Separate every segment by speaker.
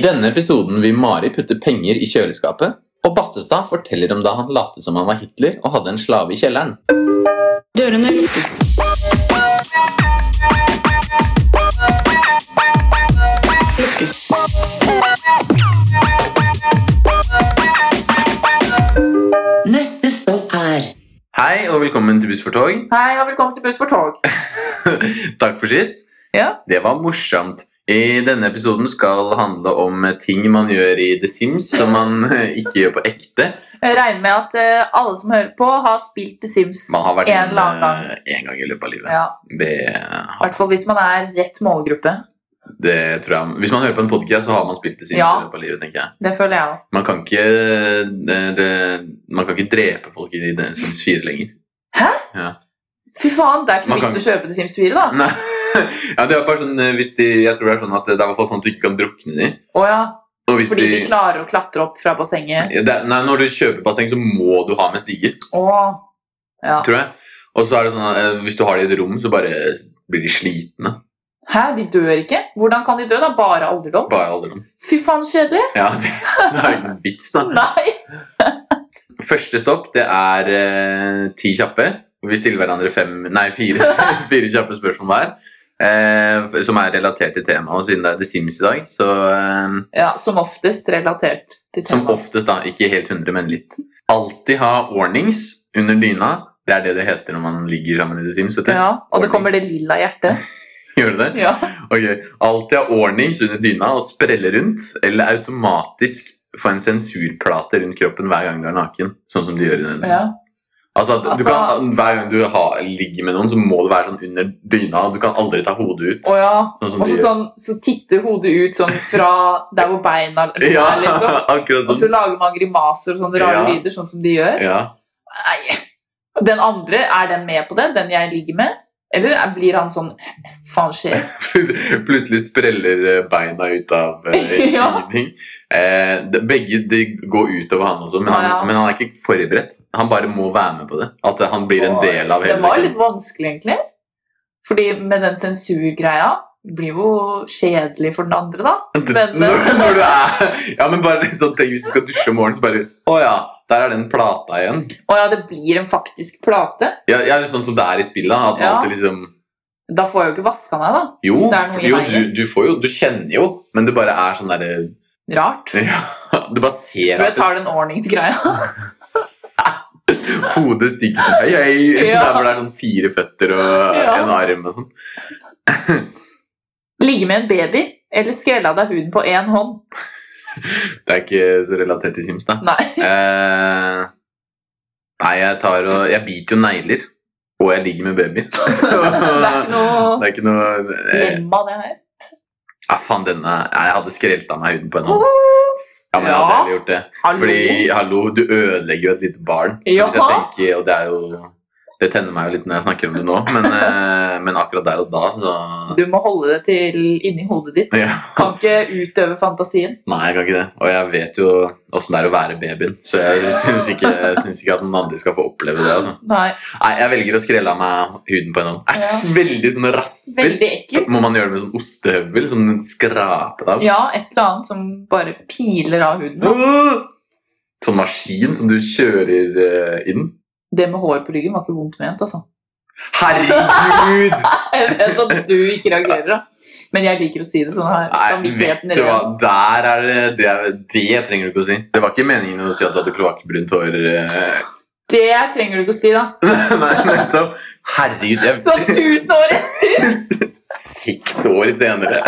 Speaker 1: denne episoden vil Mari putte penger i kjøleskapet, og Bassestad forteller om da han lot som han var Hitler og hadde en slave i kjelleren.
Speaker 2: Dørene lukkes. Neste stopp er
Speaker 1: Hei og velkommen til Buss for tog.
Speaker 3: Hei, og velkommen til Buss for tog.
Speaker 1: Takk for sist.
Speaker 3: Ja.
Speaker 1: Det var morsomt. I denne episoden skal handle om ting man gjør i The Sims som man ikke gjør på ekte.
Speaker 3: Jeg regner med at eh, alle som hører på, har spilt The Sims.
Speaker 1: Man har vært
Speaker 3: En eller annen gang.
Speaker 1: eh, en gang i løpet av livet.
Speaker 3: Ja,
Speaker 1: Det,
Speaker 3: I hvert fall hvis man er rett målgruppe.
Speaker 1: det tror jeg. Hvis man hører på en podcast, så har man spilt The Sims
Speaker 3: Ja.
Speaker 1: i løpet av livet, tenker jeg.
Speaker 3: Det føler jeg òg.
Speaker 1: Man kan ikke, det, det, man kan ikke drepe folk i The Sims 4 lenger.
Speaker 3: Fy faen, det er ikke
Speaker 1: Man
Speaker 3: noe
Speaker 1: kan- Mm.
Speaker 3: vits i å kjøpe The Sims 4, da.
Speaker 1: Nei. Ja, det er bare sånn, eh, hvis de, jeg tror det er sånn at det er i hvert fall sånn at du ikke kan drukne de.
Speaker 3: Å ja,
Speaker 1: Og hvis
Speaker 3: fordi de
Speaker 1: de,
Speaker 3: klarer å klatre opp fra bassenget.
Speaker 1: det, er- nei, når du kjøper basseng, så må du ha med stige,
Speaker 3: Å, ja.
Speaker 1: tror jeg. Og så er det sånn at eh, hvis du har det i et rom, så bare blir de slitne.
Speaker 3: Hæ, de dør ikke? Hvordan kan de dø, da? Bare av alderdom?
Speaker 1: Bare alderdom.
Speaker 3: Fy faen, kjedelig.
Speaker 1: Ja, det, det er jo ikke noen vits, da.
Speaker 3: Nei.
Speaker 1: Første stopp, det er eh, ti kjappe. hvor Vi stiller hverandre fem, nei, fire, fire kjappe spørsmål hver. eh, f- som er relatert til temaet. Og siden det er The Sims i dag, så eh,
Speaker 3: Ja, som oftest relatert til
Speaker 1: Som
Speaker 3: temaet.
Speaker 1: oftest, da. Ikke helt 100, men litt. Alltid ha warnings under dyna. Det er det det heter når man ligger sammen i The Sims. vet du.
Speaker 3: Ja, og det kommer det lilla hjertet.
Speaker 1: Gjør du det?
Speaker 3: Ja.
Speaker 1: Ok. Alltid ha warnings under dyna og sprelle rundt, eller automatisk få en sensurplate rundt kroppen hver gang du er naken. Sånn som de gjør i den.
Speaker 3: ja.
Speaker 1: Altså, at du
Speaker 3: Altså-
Speaker 1: kan, Hver gang du har, ligger med noen, så må du være sånn under dyna. og Du kan aldri ta hodet ut.
Speaker 3: Å ja.
Speaker 1: Sånn som
Speaker 3: Og
Speaker 1: de
Speaker 3: så
Speaker 1: gjør.
Speaker 3: sånn, så titter hodet ut sånn fra der hvor beina er,
Speaker 1: Ja,
Speaker 3: liksom.
Speaker 1: akkurat
Speaker 3: Og så
Speaker 1: sånn.
Speaker 3: lager man grimaser og sånne rare
Speaker 1: Ja.
Speaker 3: lyder, sånn som de gjør.
Speaker 1: Ja.
Speaker 3: Nei. Den andre, er den med på det? Den jeg ligger med? Eller er- blir han sånn Faen skjer.
Speaker 1: Plutselig spreller eh, beina ut av eh,
Speaker 3: Ja.
Speaker 1: ingenting. Eh, det- begge de går utover han også, men
Speaker 3: Ah,
Speaker 1: han,
Speaker 3: ja.
Speaker 1: men han er ikke forberedt. Han bare må være med på det. At eh, han blir en
Speaker 3: Og
Speaker 1: del av hele
Speaker 3: Det var litt
Speaker 1: sekvensen.
Speaker 3: vanskelig, egentlig. Fordi med den sensurgreia det blir jo kjedelig for den andre, da.
Speaker 1: Når,
Speaker 3: Men eh,
Speaker 1: når du er Ja, men bare litt sånn Tenk hvis du skal dusje om morgenen, så bare Å ja, der er den plata igjen.
Speaker 3: Å ja, det blir en faktisk plate.
Speaker 1: Ja, ja litt sånn som det er i spillet. At man
Speaker 3: Ja.
Speaker 1: alltid liksom
Speaker 3: Da får jeg jo ikke vaska meg, da.
Speaker 1: Jo,
Speaker 3: Hvis det er noe i
Speaker 1: jo du,
Speaker 3: veien.
Speaker 1: du får jo Du kjenner jo, men det bare er sånn derre
Speaker 3: Rart.
Speaker 1: ja, Du bare
Speaker 3: Jeg
Speaker 1: ser
Speaker 3: tror jeg
Speaker 1: at
Speaker 3: tar den ordningsgreia.
Speaker 1: Hodet stikker sånn hei, hei,
Speaker 3: Ja.
Speaker 1: der hvor det er sånn fire føtter og
Speaker 3: Ja.
Speaker 1: en arm og sånn.
Speaker 3: Ligge med en baby eller skrelle av deg huden på én hånd.
Speaker 1: Det er ikke så relatert til Sims, da.
Speaker 3: Nei.
Speaker 1: Eh, nei, jeg tar og Jeg biter jo negler. Og jeg ligger med babyer. Så-
Speaker 3: Det er ikke noe
Speaker 1: Det er ikke noe eh,
Speaker 3: dilemma, det her.
Speaker 1: Ja, faen, denne Nei, Jeg hadde skrelt av meg huden på en hånd. Ja, men jeg
Speaker 3: Ja.
Speaker 1: hadde heller gjort det.
Speaker 3: Hallo.
Speaker 1: Mm. Fordi, hallo, du ødelegger jo et lite barn. Så hvis jeg
Speaker 3: Ja.
Speaker 1: tenker, og det er jo Det tenner meg jo litt når jeg snakker om det nå, men, eh, men akkurat der og da, så
Speaker 3: Du må holde det til inni hodet ditt.
Speaker 1: ja.
Speaker 3: Kan ikke utøve fantasien.
Speaker 1: Nei, jeg kan ikke det. Og jeg vet jo åssen det er å være babyen. Så jeg syns ikke, jeg synes ikke at noen andre skal få oppleve det. altså.
Speaker 3: Nei,
Speaker 1: Nei, Jeg velger å skrelle av meg huden på en hånd. Æsj, veldig sånne rasper.
Speaker 3: Veldig ekkelt.
Speaker 1: Må man gjøre det med sånn ostehøvel? Sånn den skraper av?
Speaker 3: Ja, et eller annet som bare piler av huden. da.
Speaker 1: Åh! Sånn maskin som du kjører eh, inn?
Speaker 3: Det med hår på ryggen var ikke vondt ment, altså.
Speaker 1: Herregud!
Speaker 3: Jeg vet at du ikke reagerer, da. Men jeg liker å si det sånn her.
Speaker 1: Nei, vet
Speaker 3: Samvittigheten
Speaker 1: du hva, der er det, det er- Det trenger du ikke å si. Det var ikke meningen å si at du hadde kloakkbrunt hår. eh.
Speaker 3: Det trenger du ikke å si, da.
Speaker 1: Nei, nettopp. Herregud,
Speaker 3: Så
Speaker 1: jeg
Speaker 3: tusen år
Speaker 1: Seks år senere.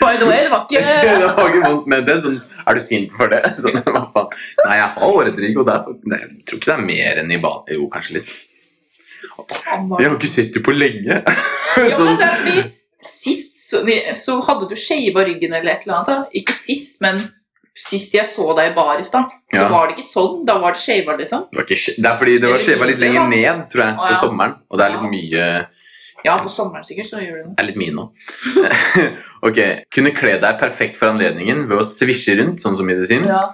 Speaker 3: By the way, det var ikke
Speaker 1: det var ikke vondt med det. Sånn, er du sint for det? Sånn, hva faen? Nei, jeg har åretrygg, og derfor Nei, jeg tror ikke det er mer enn i ba... Jo, kanskje litt. Jeg har ikke sett det på lenge.
Speaker 3: Ja, men
Speaker 1: Sånn,
Speaker 3: det er fordi sist så, vi- så hadde du skeiva ryggen eller et eller annet. da. Ikke sist, men sist jeg så deg i bar i stad, så
Speaker 1: Ja.
Speaker 3: var det ikke sånn. Da var det skeiva, liksom.
Speaker 1: det, var ikke, skje- det er fordi det var skjeva litt lenger ned, tror jeg,
Speaker 3: Å,
Speaker 1: på
Speaker 3: ja.
Speaker 1: sommeren. Og det er litt mye
Speaker 3: Ja, på sommeren sikkert, så gjør du det.
Speaker 1: Det er litt mye nå. ok. Kunne kle deg perfekt for anledningen ved å svisje rundt, sånn som i The Sims.
Speaker 3: Ja.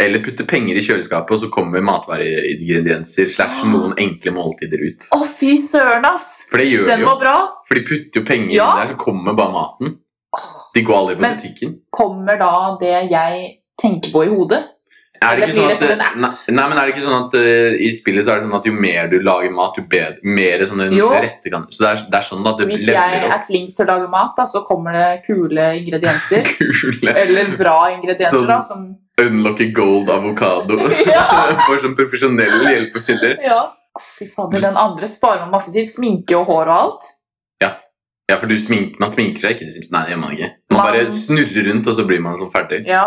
Speaker 1: Eller putte penger i kjøleskapet, og så kommer matvareingredienser
Speaker 3: Ah.
Speaker 1: slash noen enkle måltider ut.
Speaker 3: Å, fy søren, ass!
Speaker 1: For det gjør de
Speaker 3: Den
Speaker 1: jo.
Speaker 3: var bra.
Speaker 1: For de putter jo penger
Speaker 3: Ja.
Speaker 1: inn der, så kommer bare maten. De går aldri på
Speaker 3: Men-
Speaker 1: butikken.
Speaker 3: Kommer da det jeg tenker på i hodet?
Speaker 1: Er det,
Speaker 3: Eller
Speaker 1: ikke sånn
Speaker 3: blir
Speaker 1: at,
Speaker 3: det sånn en
Speaker 1: nei, nei, men er det ikke sånn at eh, i spillet så er det sånn at jo mer du lager mat, jo bedre, mer sånne
Speaker 3: Jo.
Speaker 1: rette kan Så det er, det er sånn at det
Speaker 3: Hvis jeg
Speaker 1: leverer
Speaker 3: er
Speaker 1: opp
Speaker 3: flink til å lage mat, da, så kommer det kule ingredienser.
Speaker 1: kule
Speaker 3: eller bra ingredienser,
Speaker 1: Sånn-
Speaker 3: da. Som,
Speaker 1: Unlucky gold avokado
Speaker 3: Ja.
Speaker 1: for sånn profesjonelle hjelpemidler.
Speaker 3: ja. Fy fader, den andre sparer man masse tid. Sminke og hår og alt.
Speaker 1: Ja, for du smink, man sminker seg ikke i Sims. Nei, det gjør man ikke. Man
Speaker 3: Man-
Speaker 1: bare snurrer rundt, og så blir man sånn ferdig.
Speaker 3: Ja.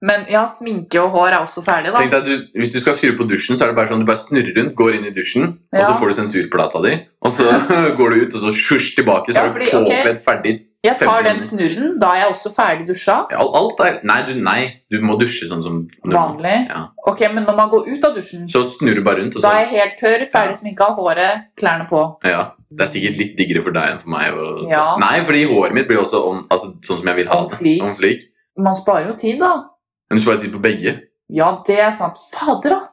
Speaker 3: Men ja, sminke og hår er også ferdig, da.
Speaker 1: Tenk deg, at du, Hvis du skal skru på dusjen, så er det bare sånn du bare snurrer rundt, går inn i dusjen, og så
Speaker 3: Ja.
Speaker 1: får du sensurplata di, og så går du ut, og så sjusj tilbake, så
Speaker 3: Ja,
Speaker 1: er du
Speaker 3: fordi, ok.
Speaker 1: påkledd ferdig.
Speaker 3: Jeg tar
Speaker 1: fem
Speaker 3: den
Speaker 1: sekunder.
Speaker 3: snurren. Da er jeg også ferdig dusja.
Speaker 1: Ja, Alt, alt er Nei, du, nei, du må dusje sånn som normalt.
Speaker 3: Vanlig.
Speaker 1: Ja.
Speaker 3: Ok, Men når man går ut av dusjen,
Speaker 1: Så snurrer du bare rundt, og
Speaker 3: da
Speaker 1: så
Speaker 3: er jeg helt tørr, ferdig sminka, håret, klærne på.
Speaker 1: Ja. Det er sikkert litt diggere for deg enn for meg. Og,
Speaker 3: Ja.
Speaker 1: Nei, fordi håret mitt blir også om, altså, sånn som jeg vil ha det.
Speaker 3: Omflik.
Speaker 1: Om flik.
Speaker 3: Man sparer jo tid, da.
Speaker 1: Men du sparer tid på begge.
Speaker 3: Ja, det er sant. Fader, da!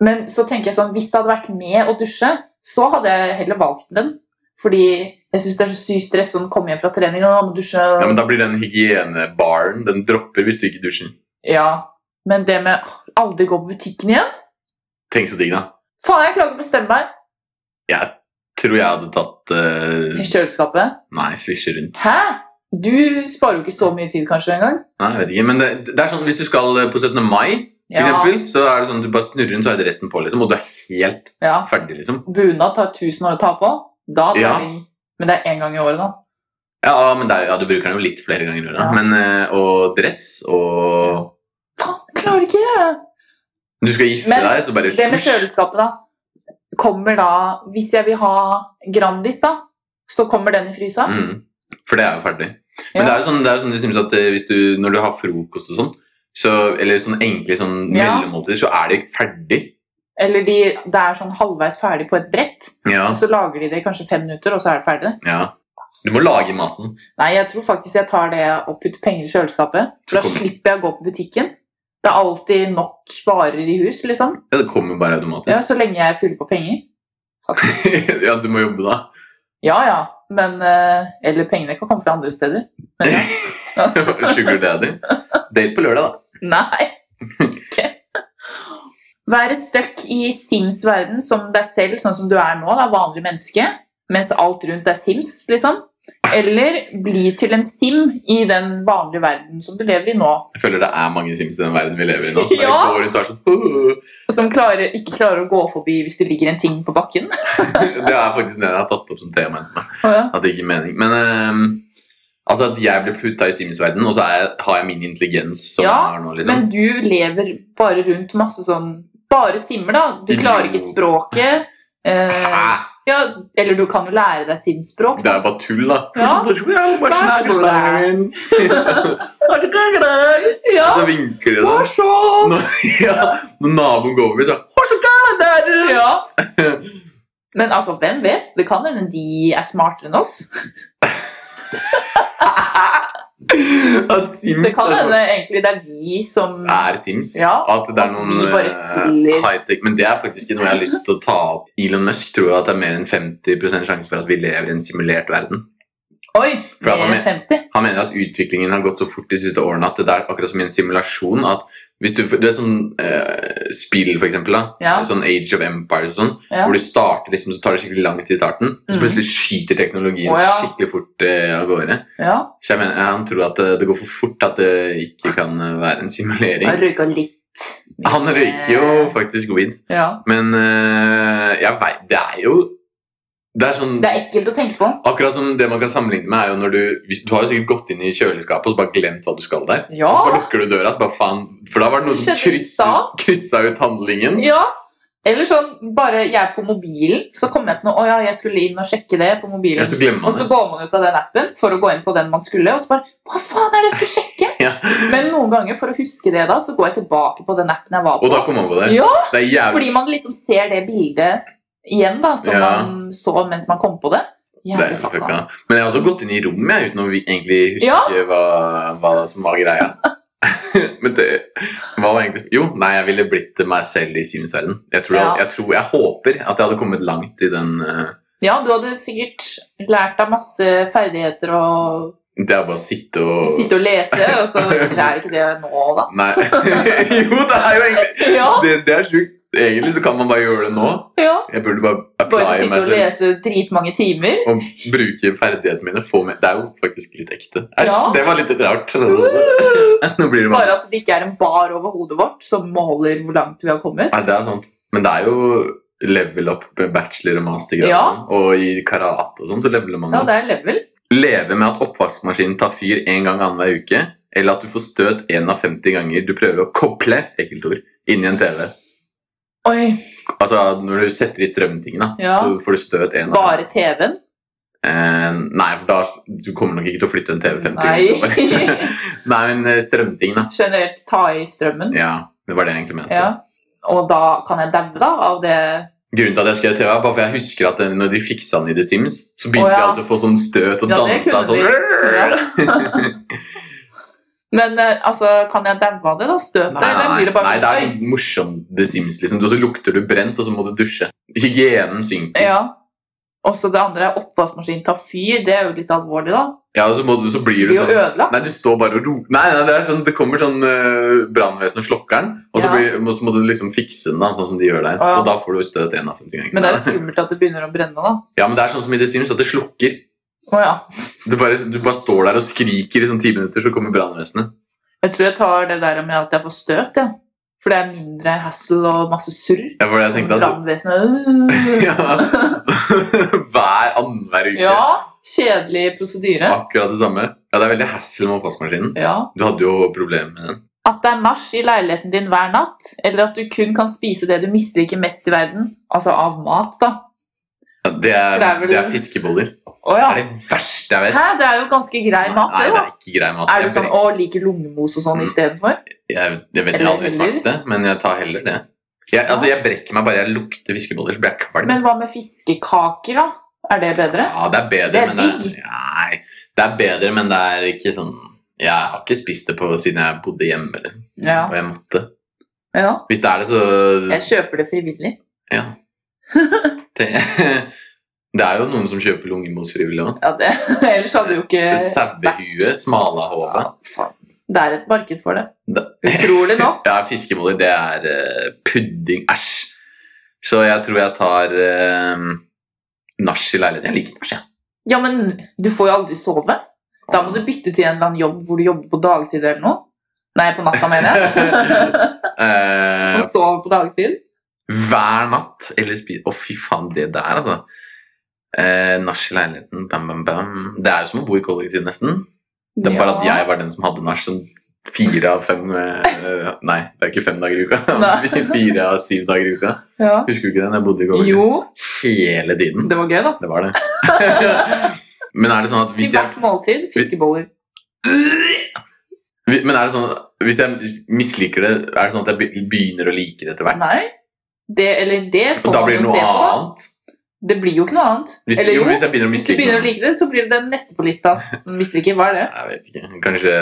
Speaker 3: Men så tenker jeg sånn, hvis det hadde vært med å dusje, så hadde jeg heller valgt den. Fordi jeg syns det er så sykt stress å komme hjem fra trening og må dusje.
Speaker 1: Ja, men Da blir den hygienebaren Den dropper hvis du ikke dusjer.
Speaker 3: Ja. Men det med åh, aldri gå på butikken igjen
Speaker 1: Tenk så digg, da.
Speaker 3: Faen, jeg klarer ikke å bestemme meg.
Speaker 1: Jeg tror jeg hadde tatt eh,
Speaker 3: Til kjøleskapet.
Speaker 1: Nei, svisje rundt.
Speaker 3: Hæ? Du sparer jo ikke så mye tid kanskje engang.
Speaker 1: Nei, jeg vet ikke. Men det, det er sånn hvis du skal eh, på 17. mai, for eksempel, så er det sånn at du bare snurrer rundt, så er det resten på, liksom. Og du er helt
Speaker 3: ja.
Speaker 1: ferdig, liksom.
Speaker 3: Bunad tar 1000 år å ta på. Da tar
Speaker 1: Ja.
Speaker 3: vi Men det er én gang i året, da.
Speaker 1: Ja, ah, men det er, jo- ja, du bruker den jo litt flere ganger i året. da.
Speaker 3: Ja.
Speaker 1: Men, eh, Og dress og
Speaker 3: Faen, jeg klarer ikke!
Speaker 1: Du skal gifte
Speaker 3: Men
Speaker 1: deg, så bare
Speaker 3: Det med
Speaker 1: svosj.
Speaker 3: kjøleskapet, da. Kommer da Hvis jeg vil ha Grandis, da, så kommer den i frysa.
Speaker 1: Mm. For det er jo ferdig. Men
Speaker 3: Ja.
Speaker 1: det er jo sånn, det er jo sånn det synes at eh, hvis du, når du har frokost og sånn, så, eller sånn enkle sånn
Speaker 3: Ja.
Speaker 1: mellommåltider, så er det ferdig.
Speaker 3: Eller de, det er sånn halvveis ferdig på et brett,
Speaker 1: Ja,
Speaker 3: og så lager de det i kanskje fem minutter, og så er det ferdig.
Speaker 1: ja. Du må lage maten.
Speaker 3: Nei, jeg tror faktisk jeg tar det og putter penger i kjøleskapet.
Speaker 1: Så
Speaker 3: For da
Speaker 1: kommer-
Speaker 3: slipper jeg å gå på butikken. Det er alltid nok varer i hus, liksom.
Speaker 1: Ja, det kommer bare
Speaker 3: Ja,
Speaker 1: automatisk.
Speaker 3: så lenge jeg fyller på penger.
Speaker 1: Ja, du må jobbe da.
Speaker 3: Ja ja, men eh, Eller pengene kan komme fra andre steder. Men ja.
Speaker 1: Sugar daddy. Date på lørdag, da.
Speaker 3: Nei. Ikke. Være stuck i Sims-verden som deg selv, sånn som du er nå, da, vanlig menneske, mens alt rundt er Sims, liksom. Eller bli til en Sim i den vanlige verden som du lever i nå.
Speaker 1: Jeg føler det er mange sims i den verden vi lever i nå. som bare
Speaker 3: Ja.
Speaker 1: går rundt og er sånn,
Speaker 3: Som klarer, ikke klarer å gå forbi hvis det ligger en ting på bakken.
Speaker 1: Det er faktisk det jeg har tatt opp som tema. At det ikke er mening. Men ehm, altså at jeg blir putta i Sims-verden, og så er jeg, har jeg min intelligens som
Speaker 3: Ja,
Speaker 1: jeg har nå, liksom.
Speaker 3: Men du lever bare rundt masse sånn Bare Simmer, da. Du klarer ikke språket. Eh,
Speaker 1: Hæ?
Speaker 3: ja, eller du kan jo lære deg Sims-språk.
Speaker 1: Det er bare sånn, tull, da.
Speaker 3: Ja. Ja,
Speaker 1: Så vinker de den.
Speaker 3: morsomt!
Speaker 1: Når, ja, når naboen går over, så
Speaker 3: Ja. Men altså, hvem vet? Det kan hende de er smartere enn oss.
Speaker 1: At Sims
Speaker 3: Det
Speaker 1: Mm,
Speaker 3: kan
Speaker 1: er,
Speaker 3: hende egentlig det er vi som
Speaker 1: sånn- er Sims.
Speaker 3: Ja,
Speaker 1: at det er
Speaker 3: at vi
Speaker 1: noen
Speaker 3: bare
Speaker 1: eh,
Speaker 3: spiller.
Speaker 1: high-tech Men det er faktisk ikke noe jeg har lyst til å ta opp. Elon Musk tror jo at det er mer enn 50 sjanse for at vi lever i en simulert verden.
Speaker 3: Oi,
Speaker 1: For at
Speaker 3: mer
Speaker 1: han
Speaker 3: enn 50.
Speaker 1: Han mener at utviklingen har gått så fort de siste årene at det er akkurat som i en simulasjon. at hvis du, du er sånn eh, spill, for eksempel. Da.
Speaker 3: Ja.
Speaker 1: Sånn Age of Empires og sånn.
Speaker 3: Ja.
Speaker 1: Hvor du starter liksom, så tar det skikkelig lang tid i starten, og så
Speaker 3: Mhm.
Speaker 1: plutselig skyter teknologien
Speaker 3: Å, ja.
Speaker 1: skikkelig fort eh, av gårde.
Speaker 3: ja.
Speaker 1: Så jeg mener, Han tror at det, det går for fort at det ikke kan eh, være en
Speaker 3: Han
Speaker 1: simulering.
Speaker 3: røyka litt.
Speaker 1: Han røyker jo
Speaker 3: eh,
Speaker 1: faktisk weed,
Speaker 3: Ja.
Speaker 1: men eh, jeg veit Det er jo Det er sånn
Speaker 3: Det er ekkelt å tenke på.
Speaker 1: Akkurat som det man kan sammenligne med, er jo når du hvis, Du har jo sikkert gått inn i kjøleskapet og så bare glemt hva du skal der.
Speaker 3: Ja.
Speaker 1: Og så bare lukker du døra, så bare faen For da var det noen som
Speaker 3: Skjedde i
Speaker 1: kryssa,
Speaker 3: stad.
Speaker 1: kryssa ut handlingen.
Speaker 3: ja. Eller sånn, bare jeg er på mobilen, så kommer jeg på noe Å ja, jeg skulle inn og sjekke det på mobilen.
Speaker 1: Ja, så glemmer
Speaker 3: Og
Speaker 1: man
Speaker 3: så
Speaker 1: det.
Speaker 3: går man ut av den appen for å gå inn på den man skulle, og så bare Hva faen er det jeg skulle sjekke?
Speaker 1: Ja.
Speaker 3: Men noen ganger, for å huske det, da, så går jeg tilbake på den appen jeg var på.
Speaker 1: Og da kom man på det.
Speaker 3: Ja,
Speaker 1: Det er jævlig
Speaker 3: fordi man liksom ser det bildet igjen, da, som
Speaker 1: Ja.
Speaker 3: man så mens man kom på det.
Speaker 1: Det er
Speaker 3: Jævlig
Speaker 1: jo
Speaker 3: fucka.
Speaker 1: fucka. Men jeg har også gått inn i rommet jeg, uten å vi- egentlig huske
Speaker 3: Ja.
Speaker 1: hva, hva som var greia. Men det, hva var egentlig Jo, nei, jeg ville blitt meg selv i Sims-verden. Jeg, tror-
Speaker 3: Ja.
Speaker 1: jeg, tror- jeg håper at jeg hadde kommet langt i den eh,
Speaker 3: Ja, du hadde sikkert lært deg masse ferdigheter og
Speaker 1: Det er bare å sitte og
Speaker 3: Sitte og lese, og så Det er ikke det nå, da.
Speaker 1: Nei. jo, det er jo egentlig
Speaker 3: Ja,
Speaker 1: Det, det er sjukt. Egentlig så kan man bare gjøre det nå.
Speaker 3: ja.
Speaker 1: Jeg burde bare
Speaker 3: Bare
Speaker 1: applye
Speaker 3: sitte
Speaker 1: meg
Speaker 3: og
Speaker 1: selv
Speaker 3: lese dritmange timer.
Speaker 1: og bruke ferdighetene mine. Få med. Det er jo faktisk litt ekte. Æsj,
Speaker 3: Ja.
Speaker 1: det var litt rart. Nå blir det bare
Speaker 3: Bare at det ikke er en bar over hodet vårt som måler hvor langt vi har kommet.
Speaker 1: Nei, det er sant. Men det er jo level up med bachelor og mastergrad.
Speaker 3: Ja.
Speaker 1: Og i karate og sånn så leveler man
Speaker 3: Ja,
Speaker 1: opp.
Speaker 3: det er level.
Speaker 1: Leve med at oppvaskmaskinen tar fyr en gang annenhver uke, eller at du får støt en av 50 ganger du prøver å koble ekkelt ord, inn i en TV.
Speaker 3: Oi,
Speaker 1: Altså, Når du setter i strømtingene, da,
Speaker 3: Ja.
Speaker 1: så får du støt en av
Speaker 3: bare TV-en?
Speaker 1: Eh, nei, for da du kommer nok ikke til å flytte en TV 50
Speaker 3: Nei.
Speaker 1: ganger. nei, men eh, strømting, da.
Speaker 3: Generelt ta i strømmen?
Speaker 1: Ja, det var det jeg egentlig mente.
Speaker 3: Ja. Og da kan jeg daue, da, av det
Speaker 1: Grunnen til at jeg skrev TV, er bare for jeg husker at eh, når de fiksa den i The Sims, så begynte
Speaker 3: Å, ja.
Speaker 1: vi alltid å få sånn støt og
Speaker 3: Ja, det
Speaker 1: dansa
Speaker 3: kunne
Speaker 1: sånn.
Speaker 3: de. Men eh, altså, kan jeg daue av det, da? Støtet?
Speaker 1: Nei,
Speaker 3: Eller
Speaker 1: nei,
Speaker 3: blir det bare
Speaker 1: nei, det er
Speaker 3: sånn?
Speaker 1: sånn morsom The Sims, liksom. Og så lukter du brent, og så må du dusje. Hygienen
Speaker 3: Oi,
Speaker 1: synker. Ja,
Speaker 3: ja. Og så det andre er oppvaskmaskinen tar fyr. Det er jo litt alvorlig, da.
Speaker 1: og så, må du, så blir
Speaker 3: Det
Speaker 1: du
Speaker 3: blir jo
Speaker 1: sånn
Speaker 3: ødelagt.
Speaker 1: Nei, du står bare og roper Nei, nei, det er sånn, det kommer sånn uh, brannvesen og slokker den, og så,
Speaker 3: Ja.
Speaker 1: blir, og så må du liksom fikse den, da, sånn som de gjør der.
Speaker 3: Å, ja.
Speaker 1: Og da får du støt en av 50 ganger.
Speaker 3: Men det er jo skummelt at det begynner å brenne, da.
Speaker 1: Ja, men det er sånn som i The Sims, at det slukker.
Speaker 3: Å ja.
Speaker 1: Du bare, du bare står der og skriker i sånn ti minutter, så kommer brannvesenet.
Speaker 3: Jeg tror jeg tar det der med at jeg får støt, jeg. For det er mindre hassle og masse surr.
Speaker 1: Ja, for jeg tenkte at
Speaker 3: Brannvesenet øh.
Speaker 1: ja. Hver annenhver uke.
Speaker 3: Ja. Kjedelig prosedyre.
Speaker 1: Akkurat det samme. Ja, det er veldig hassle med oppvaskmaskinen.
Speaker 3: Ja.
Speaker 1: Du hadde jo problemer med den.
Speaker 3: At det er nach i leiligheten din hver natt, eller at du kun kan spise det du misliker mest i verden, altså av mat, da.
Speaker 1: Ja, det, er,
Speaker 3: For
Speaker 1: det,
Speaker 3: det
Speaker 1: er
Speaker 3: er vel-
Speaker 1: fiskeboller.
Speaker 3: Å ja.
Speaker 1: Det er det verste jeg vet.
Speaker 3: Hæ, det er jo ganske grei mat,
Speaker 1: Nei,
Speaker 3: det,
Speaker 1: det
Speaker 3: da.
Speaker 1: er ikke grei mat.
Speaker 3: Er du
Speaker 1: Jeg-
Speaker 3: sånn 'Å, liker lungemos og sånn
Speaker 1: Mm.
Speaker 3: istedenfor'?
Speaker 1: Jeg, jeg vet jeg
Speaker 3: Eller
Speaker 1: aldri smakt det, men jeg tar heller det. Jeg, altså, jeg brekker meg bare jeg lukter fiskeboller, så blir jeg kvalm.
Speaker 3: Men hva med fiskekaker, da? Er det bedre?
Speaker 1: Ja, det er bedre,
Speaker 3: Det er
Speaker 1: men det
Speaker 3: digg.
Speaker 1: er, nei, det er bedre, men det er ikke sånn Jeg har ikke spist det på siden jeg bodde hjemme, eller,
Speaker 3: Ja.
Speaker 1: og jeg måtte.
Speaker 3: ja.
Speaker 1: Hvis det er det, så
Speaker 3: Jeg kjøper det frivillig.
Speaker 1: Ja. Det, det er jo noen som kjøper lungemos frivillig òg.
Speaker 3: Ja, det. Ellers hadde jo ikke
Speaker 1: Sauehue, smalahove.
Speaker 3: Ja, faen. Det er et marked for det.
Speaker 1: Det-
Speaker 3: Utrolig nok.
Speaker 1: Ja, fiskeboller, det er eh, pudding. Æsj. Så jeg tror jeg tar uh, nach i leiligheten. Jeg liker nach, jeg.
Speaker 3: Ja, men du får jo aldri sove. Da må du bytte til en eller annen jobb hvor du jobber på dagtid eller noe. Nei, på natta, mener jeg.
Speaker 1: Eh,
Speaker 3: Og sove på dagtid.
Speaker 1: hver natt eller spise Å, fy faen, det der, altså. Uh, nach i leiligheten, bam, bam, bam. Det er jo som å bo i kollektiv, nesten. Det er bare at jeg var den som hadde nach sånn fire av fem eh, Nei, det er ikke fem dager i uka.
Speaker 3: Nei.
Speaker 1: fire av syv dager i uka.
Speaker 3: ja.
Speaker 1: Husker du ikke den? Jeg bodde i kollektiv
Speaker 3: Jo,
Speaker 1: hele tiden.
Speaker 3: det var gøy, da.
Speaker 1: Det var det. Men er det sånn at
Speaker 3: Til
Speaker 1: hvis jeg,
Speaker 3: hvert måltid fiskeboller.
Speaker 1: men er det sånn, hvis jeg misliker det, er det sånn at jeg be- begynner å like det etter hvert?
Speaker 3: Nei. Det eller det
Speaker 1: Og
Speaker 3: får
Speaker 1: da
Speaker 3: man
Speaker 1: blir det
Speaker 3: jo
Speaker 1: noe
Speaker 3: se på. da.
Speaker 1: annet?
Speaker 3: Det blir jo ikke noe annet.
Speaker 1: Hvis,
Speaker 3: eller
Speaker 1: jo,
Speaker 3: jo,
Speaker 1: hvis jeg begynner å
Speaker 3: hvis du
Speaker 1: mislike
Speaker 3: begynner å
Speaker 1: noe.
Speaker 3: like det, så blir det den neste på lista. Som misliker, hva er det?
Speaker 1: Jeg vet ikke. Kanskje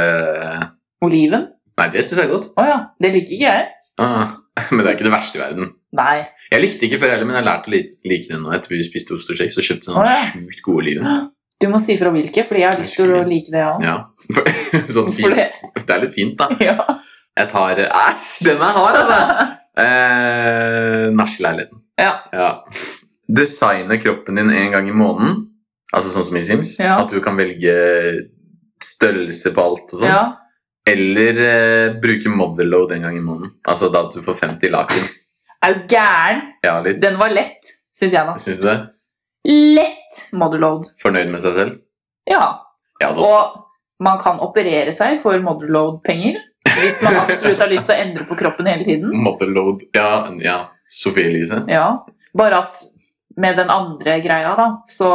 Speaker 3: Oliven?
Speaker 1: Nei, det syns jeg er godt.
Speaker 3: Å ja, det liker ikke jeg.
Speaker 1: Ah, men det er ikke det verste i verden.
Speaker 3: Nei.
Speaker 1: Jeg likte ikke før heller, men jeg har lært å li- like det nå. Etter vi spiste ost og shake, så kjøpte jeg sånn
Speaker 3: Å, ja.
Speaker 1: sjukt gode oliven.
Speaker 3: Du må si fra hvilke, fordi jeg har lyst til å like det, jeg òg.
Speaker 1: Ja. For, sånn
Speaker 3: For
Speaker 1: fint.
Speaker 3: det
Speaker 1: Det er litt fint, da.
Speaker 3: Ja.
Speaker 1: Jeg tar Æsj, den er hard, altså! Eh, nach i leiligheten.
Speaker 3: Ja.
Speaker 1: Designe kroppen din en gang i måneden, altså sånn som i Sims.
Speaker 3: Ja.
Speaker 1: At du kan velge størrelse på alt og sånn.
Speaker 3: ja.
Speaker 1: Eller eh, bruke motherload en gang i måneden. Altså da at du får 50 laken.
Speaker 3: Er du gæren?
Speaker 1: Ja, litt.
Speaker 3: Den var lett, syns jeg, da.
Speaker 1: Syns du det?
Speaker 3: Lett motherload.
Speaker 1: Fornøyd med seg selv?
Speaker 3: Ja.
Speaker 1: Ja, da
Speaker 3: Og man kan operere seg for motherload-penger hvis man absolutt har lyst til å endre på kroppen hele tiden.
Speaker 1: Mm. Motherload. Ja, ja. Sophie Elise.
Speaker 3: Ja, Bare at med den andre greia, da, så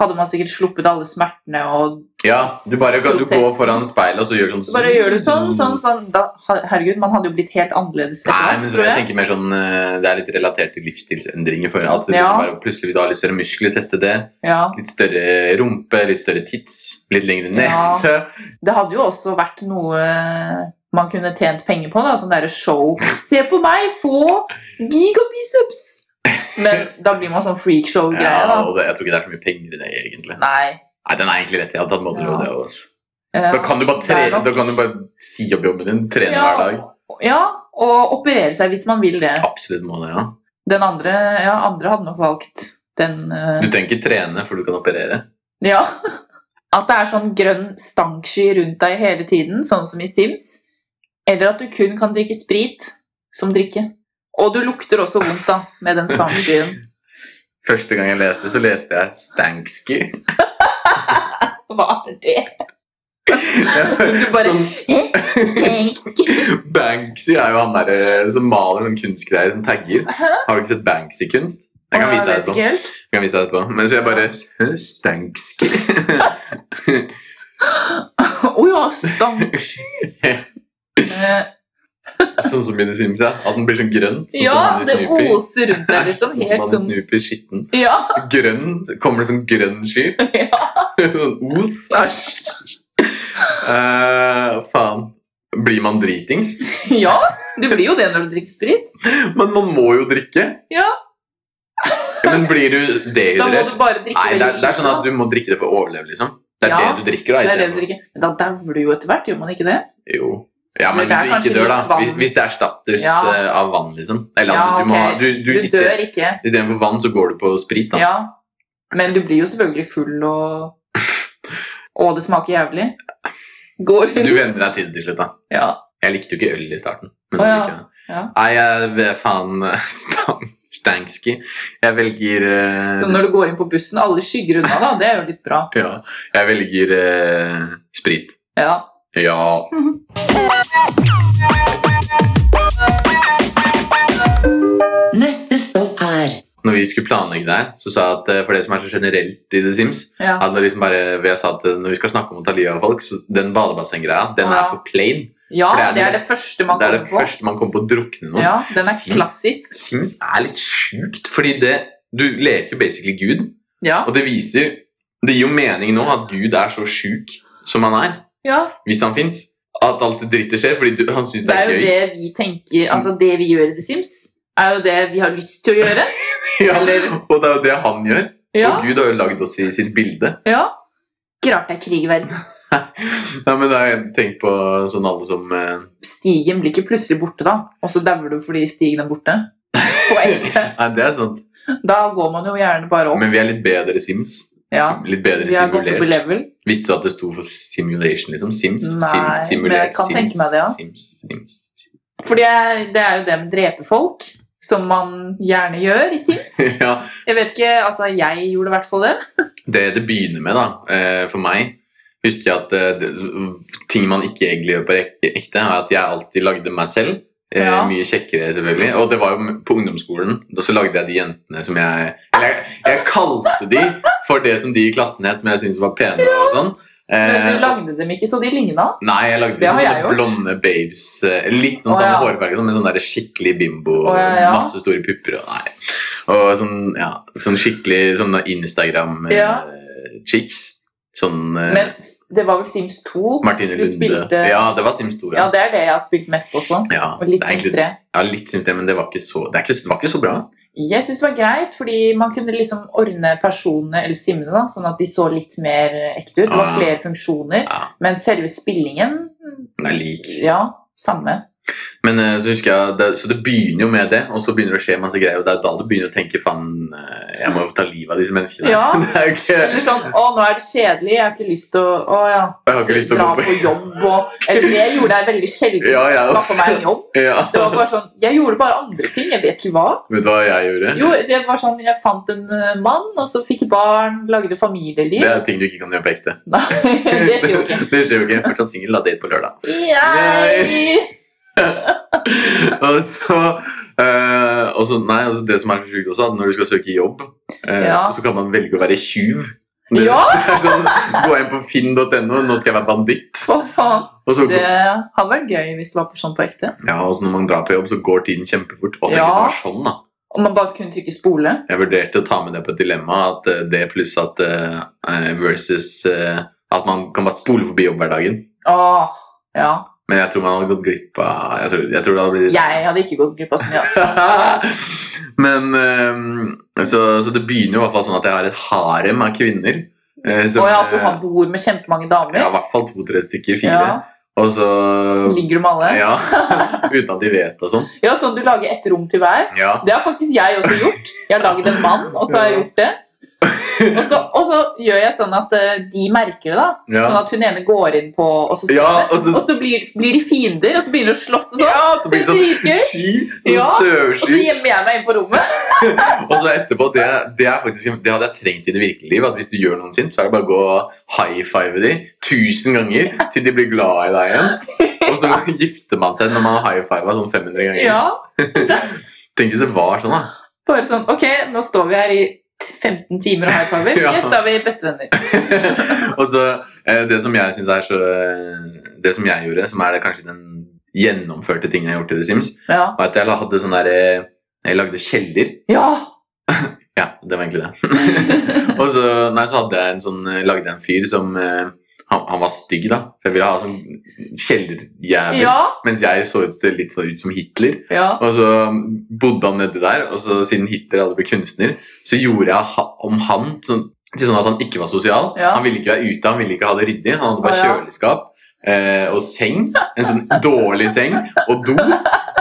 Speaker 3: hadde man sikkert sluppet alle smertene og
Speaker 1: Ja, du bare du går foran speilet og så gjør sånn
Speaker 3: så Bare gjør du sånn, sånn, sånn. Da, herregud, man hadde jo blitt helt annerledes etter
Speaker 1: Nei,
Speaker 3: hvert,
Speaker 1: men så
Speaker 3: tror
Speaker 1: jeg
Speaker 3: jeg.
Speaker 1: tenker mer sånn eh, Det er litt relatert til livsstilsendringer. For at det
Speaker 3: Ja.
Speaker 1: liksom bare, plutselig vil du ha litt større muskler, teste det.
Speaker 3: Ja.
Speaker 1: Litt større rumpe, litt større tits, litt lengre
Speaker 3: Ja.
Speaker 1: nese.
Speaker 3: Det hadde jo også vært noe man kunne tjent penger på. da, Sånn derre show. Se på meg, få gigabiceps! Men da blir man sånn freakshow-greie,
Speaker 1: Ja,
Speaker 3: da.
Speaker 1: og det, jeg tror ikke det er så mye penger i det, egentlig.
Speaker 3: Nei.
Speaker 1: Nei, den er egentlig lett. Jeg hadde tatt
Speaker 3: Ja.
Speaker 1: Modello, det også.
Speaker 3: eh,
Speaker 1: Da kan du bare, tre,
Speaker 3: det er nok-
Speaker 1: da kan du bare si opp jobben din, trene
Speaker 3: ja,
Speaker 1: hver dag.
Speaker 3: Ja, og operere seg hvis man vil det.
Speaker 1: Absolutt må det, ja.
Speaker 3: Den andre, ja, andre hadde nok valgt den eh,
Speaker 1: Du trenger ikke trene, for du kan operere.
Speaker 3: Ja. At det er sånn grønn stanksky rundt deg hele tiden, sånn som i Sims. Eller at du kun kan drikke sprit som drikke. Og du lukter også vondt da, med den stankskyen.
Speaker 1: Første gang jeg leste, så leste jeg Stanksky.
Speaker 3: Hva er det? Du
Speaker 1: Ja,
Speaker 3: bare
Speaker 1: sånn,
Speaker 3: «Hæ? Stanksky?
Speaker 1: Banksy er jo han der eh, som maler noen kunstgreier som tagger. Har du ikke sett Banksy-kunst? Jeg kan vise deg
Speaker 3: vet
Speaker 1: etterpå.
Speaker 3: ikke helt.
Speaker 1: Jeg kan vise deg etterpå. Men så jeg bare «Hæ, Stanksky.
Speaker 3: Å ja, stanksky! Eh,
Speaker 1: Sånn som i The Sims, ja. At den blir sånn grønn. Sånn
Speaker 3: ja,
Speaker 1: som han i
Speaker 3: det
Speaker 1: Snoopy.
Speaker 3: oser rundt deg, liksom.
Speaker 1: Sånn som
Speaker 3: Helt
Speaker 1: han i
Speaker 3: sånn
Speaker 1: Snoopy, skitten.
Speaker 3: Ja!
Speaker 1: Grønn. Kommer det sånn grønn sky?
Speaker 3: ja.
Speaker 1: Sånn os.
Speaker 3: Æsj.
Speaker 1: Eh, faen. Blir man dritings?
Speaker 3: Ja, du blir jo det når du drikker sprit.
Speaker 1: Men man må jo drikke.
Speaker 3: Ja.
Speaker 1: Men blir du
Speaker 3: Da må
Speaker 1: dehydrert?
Speaker 3: du bare drikke
Speaker 1: Nei, det er,
Speaker 3: veldig
Speaker 1: det er sånn
Speaker 3: lite,
Speaker 1: at du må drikke det for å overleve, liksom. Det er
Speaker 3: Ja,
Speaker 1: det du drikker, da. i
Speaker 3: Det er det
Speaker 1: stedet
Speaker 3: du drikker. Men da dauer du jo etter hvert, gjør man ikke det?
Speaker 1: Jo. Ja, men,
Speaker 3: Men det
Speaker 1: hvis
Speaker 3: er
Speaker 1: du
Speaker 3: kanskje
Speaker 1: ikke dør,
Speaker 3: litt
Speaker 1: da.
Speaker 3: vann.
Speaker 1: Hvis, hvis det erstattes
Speaker 3: Ja.
Speaker 1: eh, av vann, liksom. Eller at
Speaker 3: Ja,
Speaker 1: du, du må
Speaker 3: ok.
Speaker 1: ha du, du,
Speaker 3: Du
Speaker 1: i stedet-
Speaker 3: dør ikke.
Speaker 1: Istedenfor vann, så går du på sprit, da.
Speaker 3: Ja. Men du blir jo selvfølgelig full, og Og det smaker jævlig. Går
Speaker 1: Du venner deg til det til slutt, da.
Speaker 3: Ja.
Speaker 1: Jeg likte jo ikke øl i starten. Men
Speaker 3: Å,
Speaker 1: nå
Speaker 3: ja.
Speaker 1: liker jeg det.
Speaker 3: Ja.
Speaker 1: Nei, jeg vet faen Stan- Stanksky. Jeg velger eh,
Speaker 3: Så når du går inn på bussen, alle skygger unna, da. Det er jo litt bra.
Speaker 1: ja, Jeg velger eh, sprit.
Speaker 3: Ja.
Speaker 1: Ja.
Speaker 2: Neste stopp er
Speaker 1: Når vi skulle planlegge det her, så sa jeg at eh, for det som er så generelt i The Sims
Speaker 3: ja.
Speaker 1: at det liksom bare, jeg sa at eh, Når vi skal snakke om å ta livet av folk, så den badebasseng-greia, den
Speaker 3: Ja.
Speaker 1: er for plain.
Speaker 3: ja
Speaker 1: For det er
Speaker 3: det er
Speaker 1: det-
Speaker 3: det første man
Speaker 1: Det er
Speaker 3: kommer
Speaker 1: det
Speaker 3: på.
Speaker 1: første man kommer på å drukne noen.
Speaker 3: Ja, den er
Speaker 1: Sims.
Speaker 3: klassisk.
Speaker 1: Sims er litt sjukt, fordi det Du leker jo basically Gud,
Speaker 3: Ja.
Speaker 1: og det viser Det gir jo mening nå at Gud er så sjuk som han er,
Speaker 3: ja.
Speaker 1: hvis han fins. At alt det drittet skjer fordi du, han syns
Speaker 3: Det
Speaker 1: det
Speaker 3: er
Speaker 1: er
Speaker 3: jo
Speaker 1: gøy.
Speaker 3: det vi tenker Altså, det vi gjør i The Sims, er jo det vi har lyst til å gjøre.
Speaker 1: Ja,
Speaker 3: eller-
Speaker 1: og det er jo det han gjør.
Speaker 3: Ja.
Speaker 1: Og Gud har jo lagd oss i sitt bilde.
Speaker 3: ja. Ikke rart det er krig i verden.
Speaker 1: Nei, men da har jeg tenkt på sånn alle som eh,
Speaker 3: stigen blir ikke plutselig borte da, og så dauer du fordi stigen er borte. På ekte.
Speaker 1: Nei, det er sant.
Speaker 3: Da går man jo gjerne bare opp.
Speaker 1: Men vi er litt bedre Sims.
Speaker 3: Ja,
Speaker 1: Litt bedre
Speaker 3: vi har gått opp i
Speaker 1: simulert.
Speaker 3: level.
Speaker 1: Visste du at det sto for simulation, liksom? Sims?
Speaker 3: Nei,
Speaker 1: Sims,
Speaker 3: men jeg
Speaker 1: simulert,
Speaker 3: kan
Speaker 1: Sims,
Speaker 3: tenke meg det, ja.
Speaker 1: Sims, Sims, Sims.
Speaker 3: Fordi jeg, det er jo det med å drepe folk, som man gjerne gjør i Sims.
Speaker 1: ja,
Speaker 3: Jeg vet ikke, altså jeg gjorde i hvert fall det.
Speaker 1: det det begynner med, da, eh, for meg Husker jeg at eh, det- ting man ikke egentlig gjør på ek- ekte, er at jeg alltid lagde meg selv. Eh,
Speaker 3: Ja.
Speaker 1: Mye kjekkere, selvfølgelig. Og det var jo på ungdomsskolen. Da så lagde jeg de jentene som jeg eller Jeg, jeg kalte de for det som de i klassen het, som jeg syntes var pene og sånn.
Speaker 3: Men
Speaker 1: Eh,
Speaker 3: du lagde dem ikke, så de lignet.
Speaker 1: Nei, jeg lagde
Speaker 3: Det har
Speaker 1: sånne
Speaker 3: jeg gjort.
Speaker 1: blonde babes. eh, Litt sånn
Speaker 3: Å,
Speaker 1: samme
Speaker 3: ja.
Speaker 1: hårfarge, sånn, men sånn der skikkelig bimbo.
Speaker 3: Å, ja, ja.
Speaker 1: Masse store pupper og nei. Og sånn, ja, sånn skikkelig sånn
Speaker 3: Ja.
Speaker 1: Instagram-chicks. Sånn eh,
Speaker 3: Men det var vel Sims 2.
Speaker 1: Martine
Speaker 3: du
Speaker 1: Lunde.
Speaker 3: spilte-
Speaker 1: Ja, det var Sims 2.
Speaker 3: Ja, det er det jeg har spilt mest også.
Speaker 1: Ja,
Speaker 3: Og litt
Speaker 1: det er
Speaker 3: Sims
Speaker 1: egentlig-
Speaker 3: 3.
Speaker 1: Ja, litt Sims 3, men det var ikke så, det er ikke, det var ikke så bra.
Speaker 3: Jeg synes det var greit, fordi man kunne liksom ordne personene eller simmene da, sånn at de så litt mer ekte ut. Det
Speaker 1: Ja.
Speaker 3: var flere funksjoner,
Speaker 1: Ja.
Speaker 3: men selve spillingen
Speaker 1: Ah. Den er lik.
Speaker 3: Ja, samme.
Speaker 1: Men eh, så husker jeg, det, så det begynner jo med det, og så begynner det å skje masse greier, og det er da du begynner å tenke, faen, eh, jeg må jo ta livet av disse menneskene.
Speaker 3: Ja.
Speaker 1: Det er jo ikke,
Speaker 3: Eller sånn Å, nå er det kjedelig, jeg har ikke lyst til å Å ja.
Speaker 1: jeg har ikke lyst til å
Speaker 3: dra
Speaker 1: gå på.
Speaker 3: på jobb og Eller det gjorde jeg veldig sjelden.
Speaker 1: Ja, ja.
Speaker 3: Skaffe meg en jobb.
Speaker 1: Ja.
Speaker 3: Det var bare sånn Jeg gjorde bare andre ting, jeg vet ikke hva.
Speaker 1: Vet du hva jeg gjorde?
Speaker 3: Jo, det var sånn Jeg fant en eh, mann, og så fikk jeg barn, lagde familieliv.
Speaker 1: Det er ting du ikke kan gjøre på ekte.
Speaker 3: Nei, det skjer jo ikke.
Speaker 1: Det skjer jo ikke. Fortsatt singel, da. Date på lørdag.
Speaker 3: Yay!
Speaker 1: Og så, eh, og så, nei, altså det som er så sjukt også, at når du skal søke jobb, eh,
Speaker 3: Ja.
Speaker 1: så kan man velge å være tjuv. Det-
Speaker 3: Ja!
Speaker 1: det er sånn, gå inn på finn.no, nå skal jeg være banditt.
Speaker 3: Hva faen?
Speaker 1: Og så,
Speaker 3: Det hadde vært gøy hvis det var på sånn på ekte.
Speaker 1: ja, og så når man drar på jobb, så går tiden kjempefort. Og tenk
Speaker 3: Ja.
Speaker 1: hvis det var sånn, da.
Speaker 3: Om man bare kunne trykke spole.
Speaker 1: Jeg vurderte å ta med det på et dilemma, at eh, det pluss at eh, eh, versus eh, at man kan bare spole forbi jobbhverdagen.
Speaker 3: Åh, ja.
Speaker 1: Men jeg tror man hadde gått glipp av Jeg tror, jeg tror det hadde blitt
Speaker 3: Jeg hadde ikke gått glipp av så mye. ass.
Speaker 1: eh, Men ehm, så, så det begynner jo i hvert fall sånn at jeg har et harem av kvinner Eh,
Speaker 3: Å
Speaker 1: som,
Speaker 3: ja, at du har
Speaker 1: eh,
Speaker 3: bord med kjempemange
Speaker 1: ja,
Speaker 3: damer?
Speaker 1: i hvert fall to-tre stykker. Fire.
Speaker 3: Ja.
Speaker 1: Og så
Speaker 3: Ligger du med alle?
Speaker 1: Ja. Uten at de vet og sånn.
Speaker 3: Ja, sånn du lager ett rom til hver.
Speaker 1: Ja.
Speaker 3: Det har faktisk jeg også gjort. Jeg har laget en mann, og så har jeg gjort det. Og så, og så gjør jeg sånn at eh, de merker det, da.
Speaker 1: Ja.
Speaker 3: Sånn at hun ene går inn på Og så,
Speaker 1: Ja,
Speaker 3: og
Speaker 1: og
Speaker 3: så,
Speaker 1: så-
Speaker 3: blir, blir de fiender, og så begynner de å slåss og sånn.
Speaker 1: Ja, så blir det
Speaker 3: Dritgøy.
Speaker 1: sånn sky, sånn
Speaker 3: Ja, Og så
Speaker 1: støvsky.
Speaker 3: gjemmer jeg meg inn på rommet.
Speaker 1: Og så etterpå, det, det, er faktisk, det hadde jeg trengt i det virkelige liv. At hvis du gjør noen sint, så er det bare å gå og high-five dem tusen ganger til de blir glad i deg igjen. Og så gifter man seg når man har high-fiva sånn 500 ganger.
Speaker 3: Ja,
Speaker 1: Tenk hvis det var sånn, da.
Speaker 3: Bare sånn Ok, nå står vi her i 15 timer og high fiver.
Speaker 1: Ja.
Speaker 3: Yes, da er vi bestevenner.
Speaker 1: og så eh, Det som jeg synes er så eh, Det som jeg gjorde, som er det kanskje den gjennomførte tingen jeg har gjort i The Sims,
Speaker 3: Ja.
Speaker 1: var at jeg la- hadde sånn der eh, Jeg lagde kjeller.
Speaker 3: ja.
Speaker 1: Ja, det var egentlig det. og så, nei, så hadde jeg en sånn eh, lagde jeg en fyr som eh, han, han var stygg, da. For jeg ville ha sånn kjellerjævel.
Speaker 3: Ja.
Speaker 1: Mens jeg så ut, litt så ut som Hitler.
Speaker 3: ja.
Speaker 1: Og så um, bodde han nedi der, og så siden Hitler hadde blitt kunstner, så gjorde jeg ha- om han sånn, til sånn at han ikke var sosial.
Speaker 3: Ja.
Speaker 1: Han ville ikke være ute, han ville ikke ha det ryddig. Han hadde
Speaker 3: Å,
Speaker 1: bare
Speaker 3: ja.
Speaker 1: kjøleskap eh, og seng. En sånn dårlig seng og do.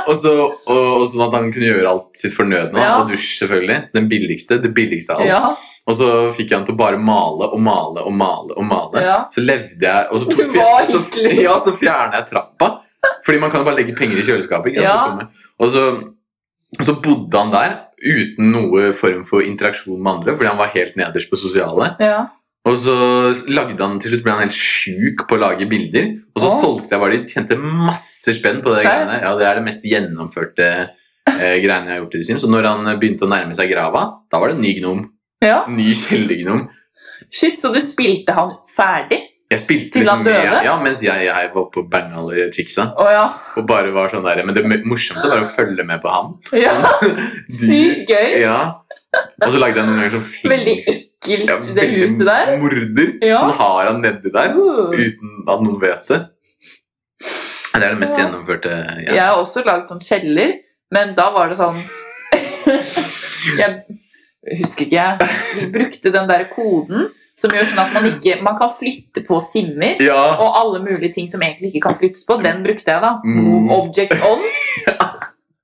Speaker 1: Og, så, og, og sånn at han kunne gjøre alt sitt fornødne. da.
Speaker 3: Ja.
Speaker 1: Og dusj, selvfølgelig. Den billigste. Det billigste av alt.
Speaker 3: ja.
Speaker 1: Og så fikk jeg han til å bare male og male og male. og male.
Speaker 3: ja.
Speaker 1: Så levde jeg Og så,
Speaker 3: Du
Speaker 1: tok,
Speaker 3: var
Speaker 1: så,
Speaker 3: Hitler.
Speaker 1: ja, så fjernet jeg trappa. Fordi man kan jo bare legge penger i kjøleskapet. Ikke sant?
Speaker 3: Ja.
Speaker 1: Så kommer- Og, så, og så bodde han der uten noe form for interaksjon med andre, fordi han var helt nederst på sosiale.
Speaker 3: ja.
Speaker 1: Og så lagde han til slutt ble han helt sjuk på å lage bilder, og så
Speaker 3: Åh.
Speaker 1: solgte jeg bare de. Tjente masse spenn på det
Speaker 3: Serr?
Speaker 1: greiene. Ja, Det er det mest gjennomførte eh, greiene jeg har gjort i det sin. Så når han eh, begynte å nærme seg grava, da var det en ny gnom.
Speaker 3: ja.
Speaker 1: Ny kjellergnom.
Speaker 3: Shit, så du spilte han ferdig?
Speaker 1: Jeg spilte
Speaker 3: Til
Speaker 1: liksom
Speaker 3: han
Speaker 1: med,
Speaker 3: døde?
Speaker 1: ja, mens jeg, jeg var på bang alle chicksa.
Speaker 3: Å ja.
Speaker 1: Og bare var sånn der, Men det morsomste var å følge med på han.
Speaker 3: ja. Sykt gøy.
Speaker 1: Ja. Og så lagde jeg noen ganger sånn fake-
Speaker 3: Veldig
Speaker 1: Ja,
Speaker 3: ekkelt, det
Speaker 1: veldig
Speaker 3: huset der.
Speaker 1: Morder.
Speaker 3: Ja.
Speaker 1: Han har han nedi der
Speaker 3: Uh.
Speaker 1: uten at noen vet det. Ja, Det er det mest
Speaker 3: Ja.
Speaker 1: gjennomførte ja.
Speaker 3: Jeg har også lagd sånn kjeller, men da var det sånn Jeg husker ikke, jeg. Vi brukte den der koden som gjør sånn at man ikke Man kan flytte på simmer.
Speaker 1: ja.
Speaker 3: Og alle mulige ting som egentlig ikke kan flyttes på, den brukte jeg da.
Speaker 1: Move.
Speaker 3: Move object on.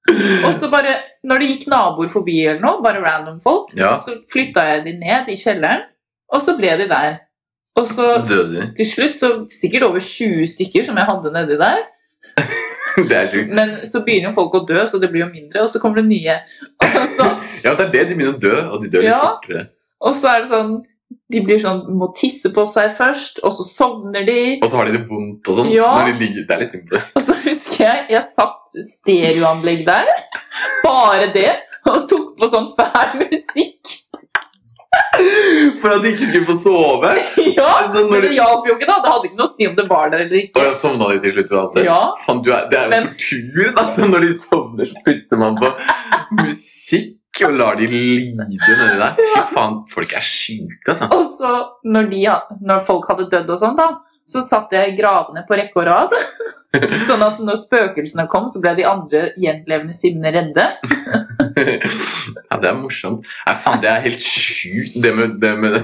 Speaker 3: Og så bare, når det gikk naboer forbi eller noe, bare random folk,
Speaker 1: ja.
Speaker 3: så flytta jeg de ned i kjelleren, og så ble de der. Og så
Speaker 1: Døde.
Speaker 3: til slutt, så sikkert over 20 stykker som jeg hadde nedi der,
Speaker 1: Det er sjukt.
Speaker 3: men så begynner jo folk å dø, så det blir jo mindre, og så kommer det nye. Og så,
Speaker 1: Ja, det er det de begynner å dø, og de dør litt
Speaker 3: Ja.
Speaker 1: fortere.
Speaker 3: og så er det sånn De blir sånn, må tisse på seg først, og så sovner de.
Speaker 1: Og så har de det vondt og sånn.
Speaker 3: Ja.
Speaker 1: Når de ligger, det er litt simpelt.
Speaker 3: Og så husker jeg jeg satt stereoanlegg der, bare det, og tok på sånn fæl musikk.
Speaker 1: For at de ikke skulle få sove.
Speaker 3: Ja,
Speaker 1: Altså,
Speaker 3: men
Speaker 1: når
Speaker 3: det
Speaker 1: de...
Speaker 3: hjalp jo ikke, da. Det hadde ikke noe å si om det var der eller
Speaker 1: Og
Speaker 3: ikke.
Speaker 1: jeg sovna de til slutt uansett.
Speaker 3: Ja,
Speaker 1: Faen, du er, det er jo
Speaker 3: Men-
Speaker 1: tortur altså, når de sovner, så putter man på musikk og lar de lide nedi der. Fy faen, folk er syke, altså.
Speaker 3: Og så, når, de, når folk hadde dødd og sånn, da, så satt jeg i gravene på rekke og rad. Sånn at når spøkelsene kom, så ble de andre gjenlevende simmene redde.
Speaker 1: Ja, det er morsomt. Nei, faen, det er helt sjukt, det med, det med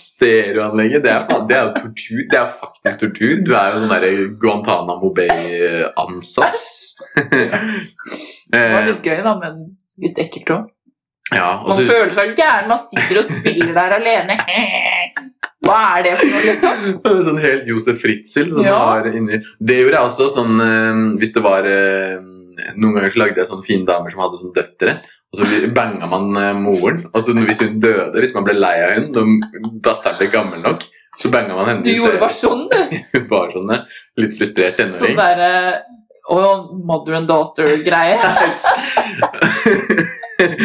Speaker 1: stereoanlegget. Det er, faen, det er jo tortur. Det er faktisk tortur. Du er jo sånn der Guantánamo Bay-ansatt.
Speaker 3: Æsj! Det var
Speaker 1: Eh,
Speaker 3: litt gøy, da, men litt ekkelt òg.
Speaker 1: ja, og
Speaker 3: Man
Speaker 1: så-
Speaker 3: føler seg gæren. Man sitter og spiller der alene. Hva er det for noe, liksom?
Speaker 1: Sånn helt Josef Fritzl som
Speaker 3: Ja.
Speaker 1: har inni Det gjorde jeg også sånn eh, Hvis det var eh, Noen ganger så lagde jeg sånne fine damer som hadde sånn døttere. Og så bli- banga man eh, moren. Og så hvis hun døde, hvis man ble lei av henne når datteren ble gammel nok, så banga man henne.
Speaker 3: Du gjorde bare sånn, du.
Speaker 1: bare bare sånn eh, litt frustrert
Speaker 3: Sånn
Speaker 1: tenåring.
Speaker 3: derre og mother and daughter-greie.
Speaker 1: Sånn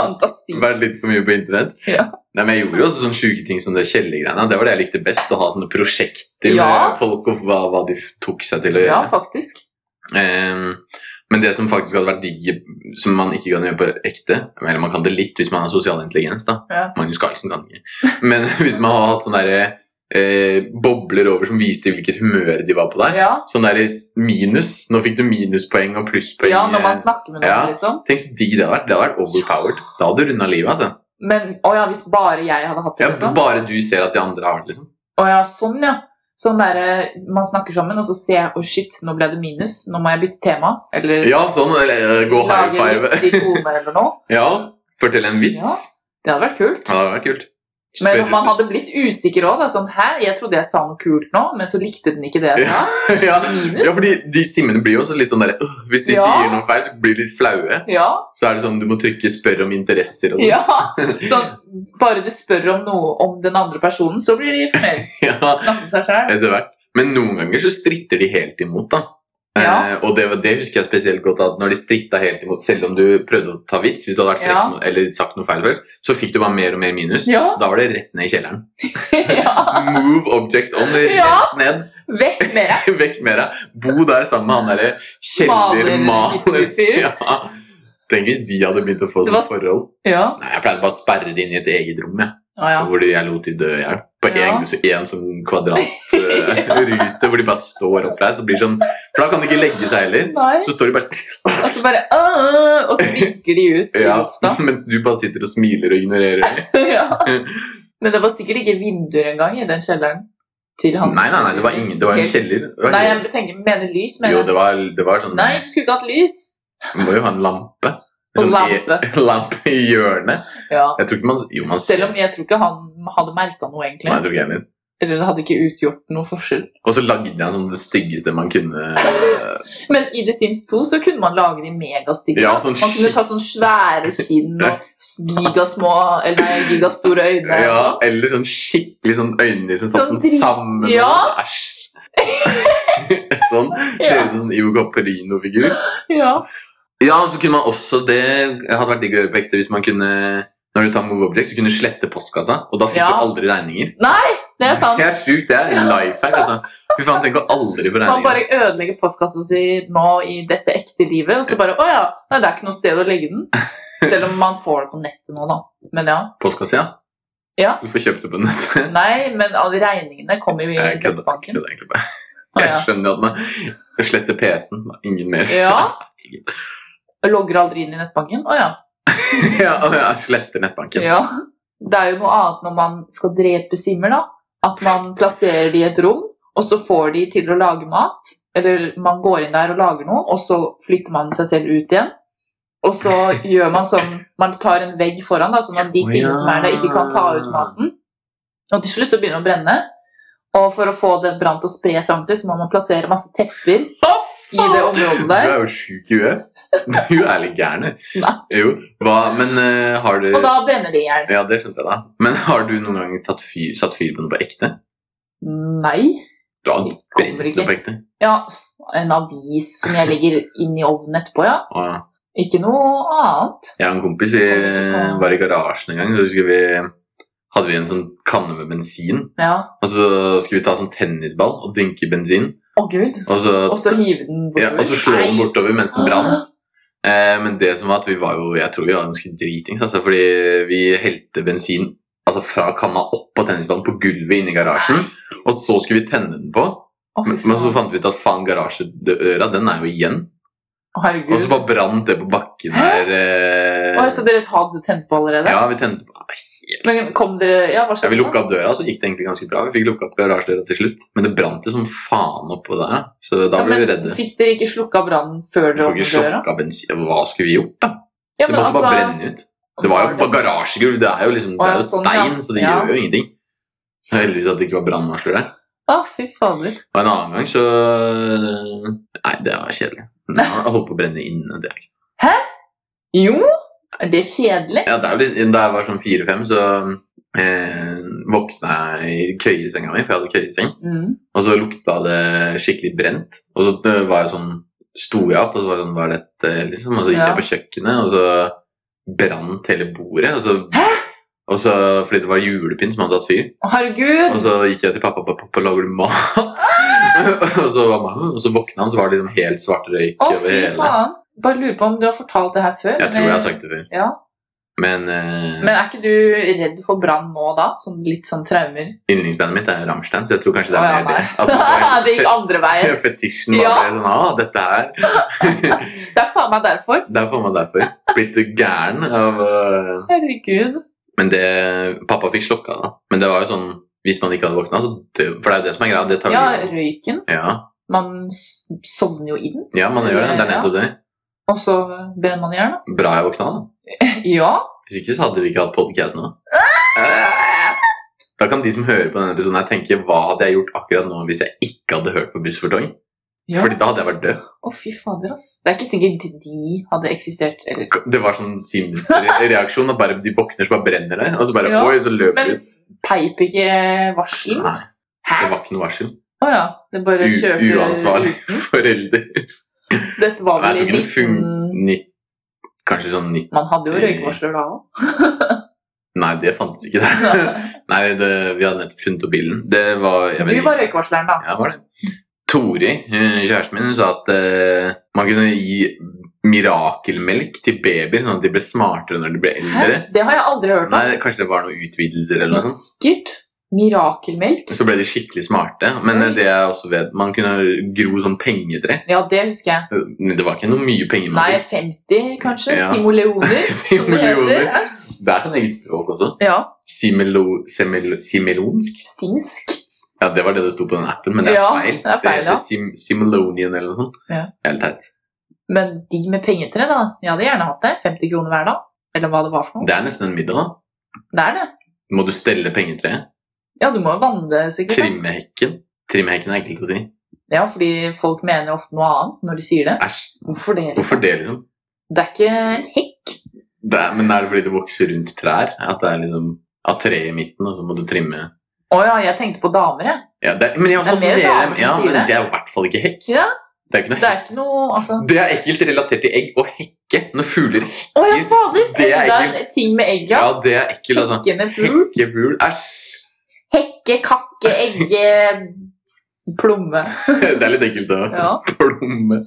Speaker 3: Fantasi.
Speaker 1: Vært litt for mye på internett.
Speaker 3: Ja.
Speaker 1: Nei, men Jeg gjorde jo også sånne sjuke ting som det kjellegreiene. Det var det jeg likte best. Å ha sånne prosjekter
Speaker 3: Ja.
Speaker 1: med folk og hva, hva de f- tok seg til å
Speaker 3: Ja,
Speaker 1: gjøre.
Speaker 3: faktisk.
Speaker 1: Ehm, men det som faktisk hadde vært digg, som man ikke kan gjøre på ekte Eller man kan det litt hvis man har sosial intelligens, da.
Speaker 3: Ja.
Speaker 1: Magnus Carlsen kan ikke. Men hvis man har hatt sånne der, eh, bobler over som viste hvilket humør de var på der.
Speaker 3: Ja.
Speaker 1: Sånn der minus. Nå fikk du minuspoeng og plusspoeng. eh,
Speaker 3: ja, når man snakker med noen,
Speaker 1: Ja.
Speaker 3: liksom.
Speaker 1: Tenk så digg det hadde vært. Det hadde vært overpowered. Da hadde du runda livet, altså.
Speaker 3: Men å ja, hvis bare jeg hadde hatt det,
Speaker 1: Ja,
Speaker 3: liksom.
Speaker 1: bare du ser at de andre har det, liksom.
Speaker 3: Å ja, sånn, ja. Sånn derre man snakker sammen, og så ser jeg å shit, nå ble det minus, nå må jeg bytte tema. Eller
Speaker 1: Ja, sånn. Eller eh, gå high
Speaker 3: lage en
Speaker 1: five.
Speaker 3: lystig kone eller noe.
Speaker 1: Ja, fortell en vits.
Speaker 3: Ja. Det hadde vært kult.
Speaker 1: Ja, det hadde vært kult.
Speaker 3: Men
Speaker 1: Spør-
Speaker 3: man hadde blitt usikker òg. Sånn, Hæ, jeg trodde jeg sa noe kult nå, men så likte den ikke det jeg sa.
Speaker 1: ja.
Speaker 3: Minus.
Speaker 1: ja, fordi de simmene blir jo også litt sånn derre øh, Hvis de
Speaker 3: Ja.
Speaker 1: sier noe feil, så blir de litt flaue.
Speaker 3: Ja.
Speaker 1: Så er det sånn du må trykke 'spør om interesser' og sånn.
Speaker 3: ja. Sånn, bare du spør om noe om den andre personen, så blir de fornøyd.
Speaker 1: Ja,
Speaker 3: Snakke med seg selv
Speaker 1: etter hvert. Men noen ganger så stritter de helt imot, da.
Speaker 3: Ja.
Speaker 1: Eh, og det, var- det husker jeg spesielt godt, at når de stritta helt imot, selv om du prøvde å ta vits, hvis du hadde vært frekk
Speaker 3: Ja.
Speaker 1: nå- eller sagt noe feil før, så fikk du bare mer og mer minus.
Speaker 3: Ja.
Speaker 1: Da var det rett ned i kjelleren.
Speaker 3: ja.
Speaker 1: Move objects on, rett
Speaker 3: Ja.
Speaker 1: ned.
Speaker 3: Vekk med deg.
Speaker 1: Vekk med deg. Bo der sammen med han derre
Speaker 3: Maler,
Speaker 1: kjeller-maler.
Speaker 3: hipsterfyr.
Speaker 1: Ja. Tenk hvis de hadde begynt å få
Speaker 3: Det
Speaker 1: sånt
Speaker 3: var-
Speaker 1: forhold.
Speaker 3: Ja.
Speaker 1: Nei, Jeg pleide bare å sperre det inn i et eget rom, jeg.
Speaker 3: Ja, ja.
Speaker 1: hvor de- jeg lot de dø i hjel. På
Speaker 3: Ja.
Speaker 1: en, så en sånn kvadratrute hvor de bare står oppreist. og blir sånn, For da kan de ikke legge seg heller.
Speaker 3: Nei.
Speaker 1: Så står de bare
Speaker 3: Og så bare «Åh», Og så vinker de ut i
Speaker 1: ja,
Speaker 3: lufta.
Speaker 1: mens du bare sitter og smiler og ignorerer dem.
Speaker 3: Ja. Men det var sikkert ikke vinduer engang i den kjelleren. Til han.
Speaker 1: Nei, nei, nei, det var ingen, det var en kjeller. Det var
Speaker 3: Nei, jeg tenker, mener lys, mener
Speaker 1: jo,
Speaker 3: jeg.
Speaker 1: det var, det var sånn
Speaker 3: Nei, du skulle ikke hatt lys!
Speaker 1: Man må jo ha en lampe.
Speaker 3: Og
Speaker 1: Sånn i-
Speaker 3: lampe.
Speaker 1: lampe i hjørnet.
Speaker 3: Ja.
Speaker 1: Jeg tror ikke man Jo, man
Speaker 3: Selv om jeg tror ikke han hadde merka noe,
Speaker 1: Nei, jeg
Speaker 3: egentlig.
Speaker 1: tror ikke jeg vil.
Speaker 3: Eller det hadde ikke utgjort noe forskjell.
Speaker 1: Og så lagde jeg sånn det styggeste man kunne.
Speaker 3: Men i The Sims 2 så kunne man lage de megastygge.
Speaker 1: Ja,
Speaker 3: da.
Speaker 1: sånn
Speaker 3: man kunne ta sånn svære skinn og gigasmå eller nei, gigastore øyne. og
Speaker 1: Ja,
Speaker 3: sånn.
Speaker 1: eller sånn skikkelig sånn øyne som satt
Speaker 3: Sånn
Speaker 1: sånn
Speaker 3: dri-
Speaker 1: sammen.
Speaker 3: Ja.
Speaker 1: Æsj. sånn. Ser ut som sånn Ivo Caprino-figur.
Speaker 3: Ja.
Speaker 1: Ja, og så kunne man også det hadde vært digg å gjøre på ekte hvis man kunne når du tar Move Object, så kunne du slette postkassa, og da fikk
Speaker 3: Ja.
Speaker 1: du aldri regninger.
Speaker 3: Det er sant.
Speaker 1: Det er sjukt, det er en life hack, altså. Fy faen, tenk å aldri få
Speaker 3: Man
Speaker 1: regninger.
Speaker 3: bare ødelegger postkassa si nå i dette ekte livet, og så bare Å ja, nei, det er ikke noe sted å legge den. Selv om man får det på nettet nå, da. Men ja.
Speaker 1: Postkasse, ja.
Speaker 3: Ja.
Speaker 1: Du får kjøpt det på nettet.
Speaker 3: Nei, men alle regningene kommer jo i
Speaker 1: Jeg kødder.
Speaker 3: nettbanken.
Speaker 1: kødder egentlig bare.
Speaker 3: Å,
Speaker 1: Jeg
Speaker 3: ja.
Speaker 1: skjønner jo at man sletter PC-en. Ingen mer.
Speaker 3: ja. Jeg Logger aldri inn i nettbanken? Å ja.
Speaker 1: ja, og jeg sletter nettbanken.
Speaker 3: ja. Det er jo noe annet når man skal drepe simmer, da. At man plasserer de i et rom, og så får de til å lage mat. Eller man går inn der og lager noe, og så flytter man seg selv ut igjen. Og så gjør man sånn Man tar en vegg foran, da, sånn at de
Speaker 1: Å,
Speaker 3: simmene som er der, ikke kan ta ut
Speaker 1: ja.
Speaker 3: maten. Og til slutt så begynner det å brenne. Og for å få den brann til å spre seg ordentlig, så må man plassere masse tepper i det området
Speaker 1: Du
Speaker 3: der.
Speaker 1: er jo sjuk i huet. Du er litt gæren. du.
Speaker 3: Nei.
Speaker 1: Jo, hva, men eh, har du
Speaker 3: Og da brenner de i hjel.
Speaker 1: Ja, det skjønte jeg da. Men har du noen gang tatt fyr, satt fyr på noe på ekte?
Speaker 3: Nei.
Speaker 1: Du har
Speaker 3: Kommer
Speaker 1: brent
Speaker 3: ikke.
Speaker 1: noe på ekte?
Speaker 3: Ja, en avis som jeg legger inn i ovnen etterpå, ja.
Speaker 1: Å, ja.
Speaker 3: Ikke noe annet.
Speaker 1: Jeg og en kompis vi
Speaker 3: Kommer ikke på.
Speaker 1: var i garasjen en gang, så skulle vi hadde vi en sånn kanne med bensin.
Speaker 3: Ja.
Speaker 1: Og så skulle vi ta sånn tennisball og dynke i bensin.
Speaker 3: Å gud.
Speaker 1: Og så,
Speaker 3: Og så hive den
Speaker 1: ja, og så slå den
Speaker 3: Nei. Ah.
Speaker 1: bortover mens den brant. Eh, men det som var at vi var jo Jeg tror vi var ganske dritings, altså, fordi vi helte bensin altså, fra kanna opp på tennisballen på gulvet inne i garasjen. Og så skulle vi tenne den på,
Speaker 3: Å, fy
Speaker 1: men, men så
Speaker 3: faen.
Speaker 1: fant vi ut at faen, garasjedøra den er jo igjen. Og
Speaker 3: Å,
Speaker 1: så
Speaker 3: Herregud.
Speaker 1: bare brant det på bakken her. eh,
Speaker 3: Oi, så dere hadde tent på allerede?
Speaker 1: Ja, vi tente på Nei,
Speaker 3: Men kom dere Ja, hva
Speaker 1: ja,
Speaker 3: skjedde?
Speaker 1: Vi lukka opp døra, så gikk det egentlig ganske bra. Vi fikk lukka opp garasjedøra til slutt, men det brant jo som faen oppå der. Så da
Speaker 3: Ja,
Speaker 1: ble vi
Speaker 3: men
Speaker 1: redde.
Speaker 3: Fikk dere ikke slukka brannen før
Speaker 1: Vi
Speaker 3: dere
Speaker 1: får ikke
Speaker 3: åpnet døra?
Speaker 1: slokka bensin. Hva skulle vi gjort, da?
Speaker 3: Ja,
Speaker 1: det
Speaker 3: men
Speaker 1: måtte
Speaker 3: altså-
Speaker 1: bare brenne ut. Det var jo bare garasjegulv. Det er jo liksom
Speaker 3: Å,
Speaker 1: det
Speaker 3: ja,
Speaker 1: er jo
Speaker 3: sånn, ja.
Speaker 1: stein, så det
Speaker 3: Ja.
Speaker 1: gjør jo ingenting. Det er Heldigvis at det ikke var brannvarsler der.
Speaker 3: Å, fy fader.
Speaker 1: Og en annen gang så Nei, det var kjedelig. Nei, Jeg holdt på å brenne inne. Det er ikke
Speaker 3: Jo! Er det kjedelig?
Speaker 1: Ja, det er jo litt, Da jeg var sånn fire-fem, så eh, våkna jeg i køyesenga mi, for jeg hadde køyeseng.
Speaker 3: Mm.
Speaker 1: Og så lukta det skikkelig brent. Og så eh, var jeg sånn Sto jeg opp, og så var jeg sånn, hva er dette, liksom? Og så gikk
Speaker 3: Ja.
Speaker 1: jeg på kjøkkenet, og så brant hele bordet. Og så, og så Fordi det var julepynt som hadde tatt fyr.
Speaker 3: Å, herregud.
Speaker 1: Og så gikk jeg til pappa og pappa lager du mat. og, så var man, og så våkna han, så var det liksom helt svart røyk
Speaker 3: Å,
Speaker 1: over
Speaker 3: fy
Speaker 1: hele.
Speaker 3: faen. Bare lurer på om du har fortalt det her før.
Speaker 1: Jeg
Speaker 3: men-
Speaker 1: tror jeg har sagt det før.
Speaker 3: Ja.
Speaker 1: Men eh,
Speaker 3: Men er ikke du redd for brann nå da? Sånn, litt sånn traumer?
Speaker 1: yndlingsbandet mitt er Rammstein, så jeg tror kanskje det
Speaker 3: Å,
Speaker 1: er
Speaker 3: ja,
Speaker 1: mer det.
Speaker 3: nei. det gikk andre veien.
Speaker 1: Fetisjen var
Speaker 3: Ja.
Speaker 1: det sånn ah, dette her.
Speaker 3: Det er faen meg derfor.
Speaker 1: Det er faen meg derfor. Blitt gæren av eh,
Speaker 3: Herregud.
Speaker 1: Men det, Pappa fikk slokka da. Men det var jo sånn Hvis man ikke hadde våkna, så dø, For det er jo det som er greia. Det tar
Speaker 3: Ja,
Speaker 1: jo-
Speaker 3: røyken.
Speaker 1: ja.
Speaker 3: Man s- sovner jo i den,
Speaker 1: ja, man gjør det. Det er nettopp det.
Speaker 3: og så brenner man i hjel.
Speaker 1: Bra jeg våkna, da.
Speaker 3: da. Ja.
Speaker 1: Hvis ikke så hadde vi ikke hatt podkast nå. Da kan de som hører på denne episoden her tenke hva hadde jeg gjort akkurat nå hvis jeg ikke hadde hørt på Bussfortong?
Speaker 3: ja.
Speaker 1: Fordi da hadde jeg vært død.
Speaker 3: Å, fy fader, ass. Det er ikke sikkert de hadde eksistert. Eller.
Speaker 1: Det var sånn Sims-reaksjon. Bare De våkner, så bare brenner det. Og så bare
Speaker 3: Ja.
Speaker 1: oi, så løper de
Speaker 3: Men
Speaker 1: ut.
Speaker 3: peip ikke varselen?
Speaker 1: Nei,
Speaker 3: Hæ?
Speaker 1: det
Speaker 3: Å
Speaker 1: var ikke noe varsel.
Speaker 3: ja. Det bare
Speaker 1: U
Speaker 3: kjørte
Speaker 1: uansvarlig forelder.
Speaker 3: Dette
Speaker 1: Jeg
Speaker 3: var vel i
Speaker 1: tror ikke det
Speaker 3: 19...
Speaker 1: funnet Kanskje sånn nytt
Speaker 3: Man hadde jo røykvarsler da òg.
Speaker 1: Nei, det fantes ikke der. Nei, det, vi hadde nettopp funnet opp bilen. Det var jeg vet
Speaker 3: Du
Speaker 1: ikke.
Speaker 3: var røykvarsleren, da.
Speaker 1: Ja, det var det. Tori, eh, kjæresten min, hun sa at eh, man kunne gi mirakelmelk til babyer, sånn at de ble smartere når de ble eldre.
Speaker 3: Hæ? Det har jeg aldri hørt
Speaker 1: Nei,
Speaker 3: om.
Speaker 1: Kanskje det var noen utvidelser eller
Speaker 3: Jo,
Speaker 1: noe sånt.
Speaker 3: Sikkert. Mirakelmelk.
Speaker 1: Så ble de skikkelig smarte. Men eh,
Speaker 3: Oi.
Speaker 1: det jeg også vet, man kunne gro sånn pengetre.
Speaker 3: Ja, det husker jeg.
Speaker 1: Men Det var ikke noe mye penger
Speaker 3: Nei,
Speaker 1: man fikk.
Speaker 3: 50 kanskje.
Speaker 1: Ja.
Speaker 3: Simoleoner, som det heter.
Speaker 1: Millioner.
Speaker 3: Æsj.
Speaker 1: Det er sånn eget språk også.
Speaker 3: Ja.
Speaker 1: Simelo, semelo, simelonsk?
Speaker 3: Simsk.
Speaker 1: Ja, det var det det sto på den appen, men det er
Speaker 3: Ja,
Speaker 1: feil.
Speaker 3: det er feil,
Speaker 1: heter
Speaker 3: ja.
Speaker 1: sim, Simelonian eller noe sånt.
Speaker 3: Ja.
Speaker 1: Helt teit.
Speaker 3: Men digg med pengetre, da. Jeg hadde gjerne hatt det. 50 kroner hver dag. Eller hva det var for noe.
Speaker 1: Det er nesten en middag, da.
Speaker 3: Det er det.
Speaker 1: Må du stelle pengetreet?
Speaker 3: Ja, du må jo vanne det, sikkert. da.
Speaker 1: Trimme hekken? Trimme hekken er ekkelt å si.
Speaker 3: Ja, fordi folk mener ofte noe annet når de sier det.
Speaker 1: Æsj.
Speaker 3: Hvorfor det? liksom?
Speaker 1: Hvorfor det, liksom?
Speaker 3: Det er ikke en hekk.
Speaker 1: Det er, men er det fordi det vokser rundt trær? At det er liksom av treet i midten, og så må du trimme
Speaker 3: Å ja, jeg tenkte på damer, jeg.
Speaker 1: ja, det, er- Men jeg også
Speaker 3: Det er mer
Speaker 1: assosierer-
Speaker 3: damer som
Speaker 1: ja,
Speaker 3: sier
Speaker 1: men
Speaker 3: det.
Speaker 1: det er jo i hvert fall ikke hekk.
Speaker 3: Ja.
Speaker 1: Det er ikke noe
Speaker 3: Det
Speaker 1: hekk.
Speaker 3: er ikke noe altså...
Speaker 1: Det er ekkelt relatert til egg og hekke. Når fugler hekker,
Speaker 3: Å ja, fader!
Speaker 1: Det er
Speaker 3: Enda
Speaker 1: ikke-
Speaker 3: en ting med egg,
Speaker 1: ja,
Speaker 3: ja.
Speaker 1: det er ekkelt. Altså.
Speaker 3: Hekkende fugl.
Speaker 1: Hekkefugl. Æsj.
Speaker 3: Hekke, kakke, egge, plomme.
Speaker 1: Det er litt ekkelt, da.
Speaker 3: Ja.
Speaker 1: Plomme.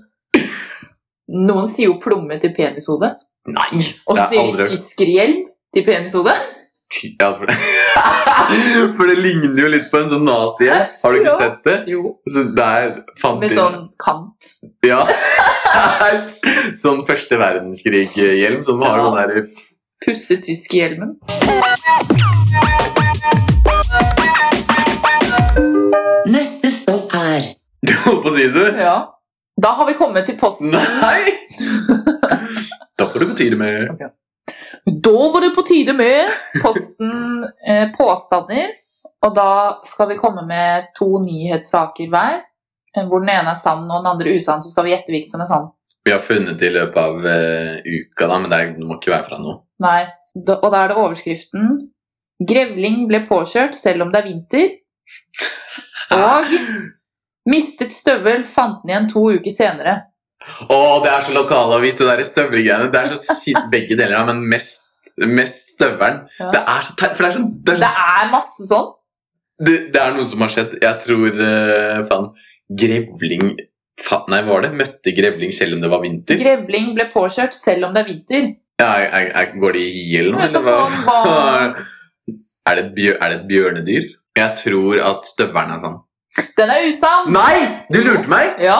Speaker 3: Noen sier jo plomme til penishode.
Speaker 1: Nei!
Speaker 3: Og
Speaker 1: det er
Speaker 3: sier
Speaker 1: aldri
Speaker 3: tyskerhjelm til penishode.
Speaker 1: Ja, for det. for det ligner jo litt på en sånn nazi. Har
Speaker 3: Æsj,
Speaker 1: du ikke
Speaker 3: ja.
Speaker 1: sett det?
Speaker 3: Jo.
Speaker 1: Så der fant
Speaker 3: Med
Speaker 1: de-
Speaker 3: sånn kant.
Speaker 1: Ja. sånn første verdenskrig-hjelm som har
Speaker 3: Ja.
Speaker 1: sånn der
Speaker 3: Pusse tyskerhjelmen.
Speaker 2: Neste stopp er
Speaker 1: Du holdt på å si det?
Speaker 3: Ja. Da har vi kommet til posten.
Speaker 1: Nei! da får du på tide med
Speaker 3: Da var det på tide med posten eh, påstander. Og da skal vi komme med to nyhetssaker hver. eh, Hvor den ene er sann og den andre usann, så skal vi gjette hvilken som er sann.
Speaker 1: Vi har funnet det i løpet av eh, uka, da, men det, er, det må ikke være fra nå.
Speaker 3: Nei. Da, og da er det overskriften 'Grevling ble påkjørt selv om det er vinter'. Og 'Mistet støvel, fant den igjen to uker senere'.
Speaker 1: Å, det er så lokalavis, det der støvlegreiene. Det er så si- begge deler, ja, men mest, mest støvelen.
Speaker 3: Ja.
Speaker 1: Det er så teit, for det er sånn det, er
Speaker 3: Det
Speaker 1: så-
Speaker 3: er masse sånn.
Speaker 1: det, det er noe som har skjedd. Jeg tror eh, faen Grevling faen, Nei, var det? Møtte grevling selv om det var vinter?
Speaker 3: Grevling ble påkjørt selv om det er vinter.
Speaker 1: Ja, jeg, jeg, jeg, går de i hi eller noe?
Speaker 3: Vet da
Speaker 1: Eller hva?
Speaker 3: faen hva-
Speaker 1: er, det et bjør, er det et bjørnedyr? Jeg tror at støvelen er sånn.
Speaker 3: Den er usann!
Speaker 1: Nei! Du lurte meg!
Speaker 3: Ja.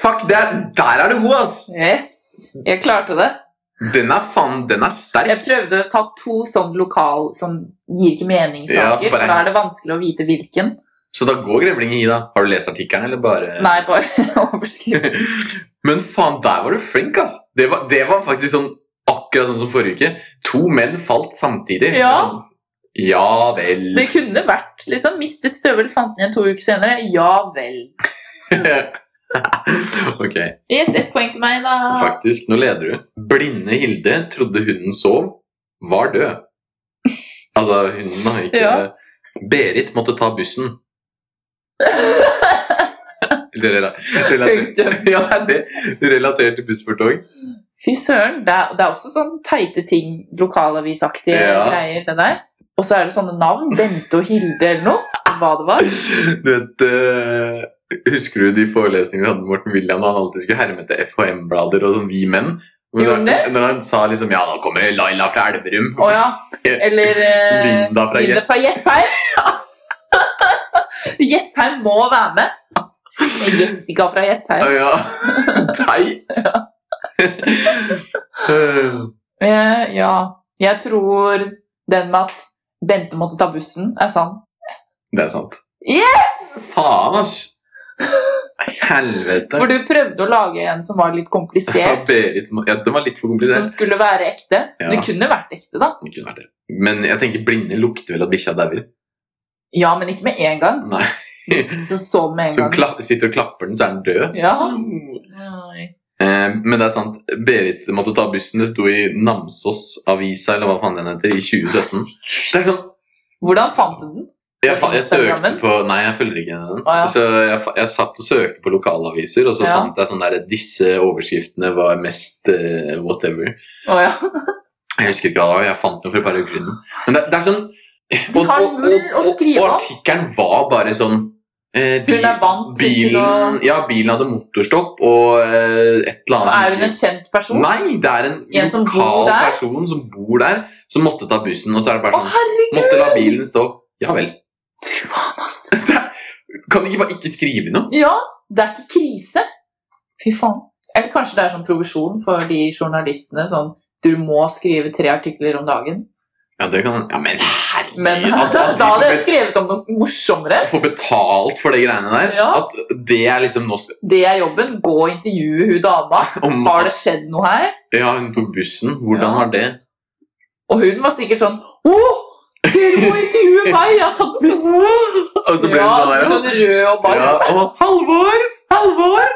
Speaker 1: Fuck, det er, der er du god, ass!
Speaker 3: Yes. Jeg klarte det.
Speaker 1: Den er faen, den er
Speaker 3: Jeg
Speaker 1: sterk.
Speaker 3: prøvde å ta to sånn lokal som gir ikke
Speaker 1: Ja,
Speaker 3: meningssaker,
Speaker 1: så bare-
Speaker 3: for da er det vanskelig å vite hvilken.
Speaker 1: Så da går grevling i hi, da. Har du lest artikkelen, eller bare
Speaker 3: Nei, bare overskrift.
Speaker 1: Men faen, der var du flink, ass! Det var, det var faktisk sånn akkurat sånn som forrige uke. To menn falt samtidig.
Speaker 3: Ja.
Speaker 1: Sånn, ja vel.
Speaker 3: Det kunne vært liksom mistet støvel, fant den igjen to uker senere. Ja vel.
Speaker 1: ok.
Speaker 3: Yes, ett poeng til meg, da.
Speaker 1: Faktisk, nå leder du. Blinde Hilde trodde hunden sov, var død. Altså, hunden har ikke
Speaker 3: Ja.
Speaker 1: Berit måtte ta bussen. Det er rela- relatert,
Speaker 3: Punktum.
Speaker 1: ja, det er det. Relatert til buss for tog.
Speaker 3: Fy søren. Det er, det er også sånn teite ting, lokalavisaktige
Speaker 1: Ja.
Speaker 3: greier, det der. Og så er det sånne navn. Bente og Hilde eller noe. Hva det var.
Speaker 1: Du vet, eh, Husker du de forelesningene vi hadde med Morten William da han alltid skulle herme etter FHM-blader og sånn Vi Menn?
Speaker 3: Gjorde
Speaker 1: Når,
Speaker 3: han det?
Speaker 1: når han sa liksom Ja, nå kommer Laila fra Elverum.
Speaker 3: Å ja. Eller eh,
Speaker 1: Linda fra
Speaker 3: Linda
Speaker 1: Jess.
Speaker 3: fra Jessheim. Jessheim må være med. Jessica fra Jessheim.
Speaker 1: Å ja. Teit! Eh,
Speaker 3: Eh, ja. Jeg tror Den med at Bente måtte ta bussen, er sann.
Speaker 1: Det er sant.
Speaker 3: Yes!
Speaker 1: Faen, ass! Helvete.
Speaker 3: For du prøvde å lage en som var litt
Speaker 1: ja,
Speaker 3: komplisert,
Speaker 1: Berit, som- ja, det var litt for
Speaker 3: som
Speaker 1: komplisert.
Speaker 3: skulle være ekte.
Speaker 1: Ja.
Speaker 3: Det kunne vært ekte, da.
Speaker 1: Det kunne vært det. Men jeg tenker blinde lukter vel at bikkja dauer.
Speaker 3: Ja, men ikke med en gang.
Speaker 1: Nei.
Speaker 3: Så så den med en
Speaker 1: Så hun
Speaker 3: gang.
Speaker 1: kla- sitter og klapper den, så er den død.
Speaker 3: Ja. Nei.
Speaker 1: Eh, men det er sant. Berit måtte ta bussen. Det sto i Namsos-avisa eller hva faen den heter, i 2017. Det er sånn
Speaker 3: Hvordan fant du den?
Speaker 1: Jeg, fa- jeg søkte
Speaker 3: Instagrammen?
Speaker 1: på Nei, jeg følger ikke den.
Speaker 3: Å, ja.
Speaker 1: Så jeg, fa- jeg satt og søkte på lokalaviser, og så
Speaker 3: Ja.
Speaker 1: fant jeg sånn der Disse overskriftene var mest eh, whatever.
Speaker 3: Å ja.
Speaker 1: Jeg husker ikke hva det var, jeg fant noe for et par uker siden. Men det, det er sånn
Speaker 3: De har null å skrive
Speaker 1: og
Speaker 3: om.
Speaker 1: artikkelen var bare sånn eh, bi-
Speaker 3: Hun er vant til
Speaker 1: bilen,
Speaker 3: å-
Speaker 1: Ja, bilen hadde motorstopp og eh, et eller
Speaker 3: Er hun en
Speaker 1: annet.
Speaker 3: kjent person?
Speaker 1: Nei, det er en,
Speaker 3: En som bor
Speaker 1: lokal
Speaker 3: der?
Speaker 1: person som bor der, som måtte ta bussen. Og så er det
Speaker 3: Å,
Speaker 1: bare sånn
Speaker 3: herregud!
Speaker 1: Måtte la bilen stå. Ja vel.
Speaker 3: Fy faen, ass.
Speaker 1: Kan de ikke bare ikke skrive noe?
Speaker 3: Ja, det er ikke krise. Fy faen. Eller kanskje det er sånn provisjon for de journalistene. Sånn, du må skrive tre artikler om dagen.
Speaker 1: Ja, det kan Ja, men herregud!
Speaker 3: Men
Speaker 1: at-
Speaker 3: da
Speaker 1: at de
Speaker 3: hadde jeg
Speaker 1: får,
Speaker 3: skrevet om noe morsommere.
Speaker 1: bet får betalt for de greiene der.
Speaker 3: Ja.
Speaker 1: At det er liksom nå skal-
Speaker 3: Det er jobben. Gå og intervjue hun dama.
Speaker 1: om,
Speaker 3: Har det skjedd noe her?
Speaker 1: Ja, hun tok bussen. Hvordan
Speaker 3: Ja.
Speaker 1: var det?
Speaker 3: Og hun var sikkert sånn Å, dere må intervjue meg! Jeg har tatt bussen!
Speaker 1: Og så ble
Speaker 3: ja,
Speaker 1: hun sånn
Speaker 3: sånn rød
Speaker 1: der,
Speaker 3: og varm.
Speaker 1: ja. ja, og Halvor! Halvor!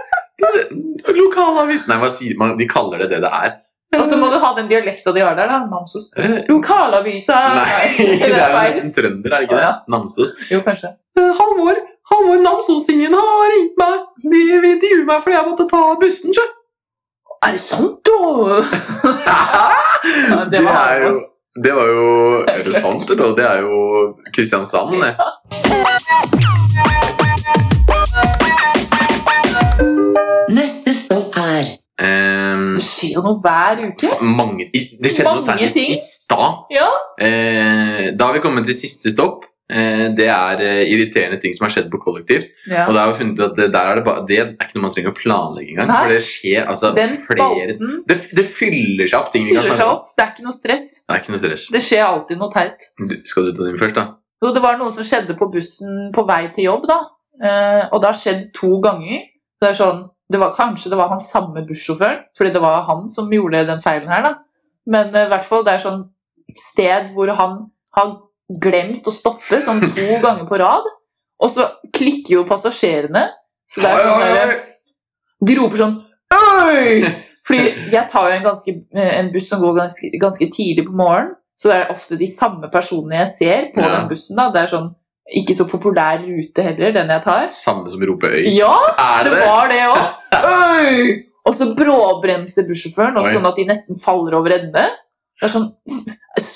Speaker 1: Lokalavis Nei, hva sier man? De kaller det det det er.
Speaker 3: Og så må du ha den dialekta de har der. da. Namsos
Speaker 1: Eh,
Speaker 3: Lokalavisa!
Speaker 1: Nei, det
Speaker 3: det
Speaker 1: er
Speaker 3: er
Speaker 1: jo
Speaker 3: feil.
Speaker 1: nesten trønder, er det ikke det?
Speaker 3: Ja.
Speaker 1: Namsos.
Speaker 3: Jo, kanskje.
Speaker 1: Eh, Halvor! Halvor Namsosingen har ringt meg! De vil intervjue meg fordi jeg måtte ta bussen, sjø!
Speaker 3: Er det sant, da? Ja, det
Speaker 1: det,
Speaker 3: var
Speaker 1: er jo,
Speaker 3: Halvor.
Speaker 1: det var jo Er det sant, eller? Det er jo Kristiansand, det.
Speaker 2: Neste stopp er
Speaker 1: Ehm,
Speaker 3: Det skjer jo noe hver uke.
Speaker 1: mange, i, det skjedde noe
Speaker 3: Mange
Speaker 1: særlig
Speaker 3: ting.
Speaker 1: i stad.
Speaker 3: Ja.
Speaker 1: Eh, da har vi kommet til siste stopp. Eh, det er eh, irriterende ting som har skjedd på kollektivt.
Speaker 3: Ja.
Speaker 1: Og da har vi funnet ut at det, der er det, bare, det er ikke noe man trenger å planlegge engang.
Speaker 3: Nei.
Speaker 1: For det skjer altså
Speaker 3: Den
Speaker 1: flere
Speaker 3: spalten
Speaker 1: det, det fyller seg opp ting vi kan
Speaker 3: fyller seg
Speaker 1: snakke om.
Speaker 3: opp. Det er ikke noe stress.
Speaker 1: Det er ikke noe stress.
Speaker 3: Det skjer alltid noe teit.
Speaker 1: Du, skal du ta din først, da?
Speaker 3: Jo, det var noe som skjedde på bussen på vei til jobb, da. Eh, og det har skjedd to ganger. Det er sånn, det var, kanskje det var han samme bussjåføren, fordi det var han som gjorde den feilen her, da. Men eh, i hvert fall, det er sånn sted hvor han har glemt å stoppe, sånn to ganger på rad. Og så klikker jo passasjerene. Så det er sånn der, de roper sånn Øy! Fordi jeg tar jo en, ganske, eh, en buss som går ganske, ganske tidlig på morgenen, så det er ofte de samme personene jeg ser på
Speaker 1: Ja.
Speaker 3: den bussen. da. Det er sånn ikke så populær rute heller, den jeg tar.
Speaker 1: Samme som roper øy.
Speaker 3: Ja,
Speaker 1: er
Speaker 3: det
Speaker 1: det det?
Speaker 3: var det òg! Øy! Og så bråbremser bussjåføren, og
Speaker 1: Oi.
Speaker 3: sånn at de nesten faller over ende. Det er sånn,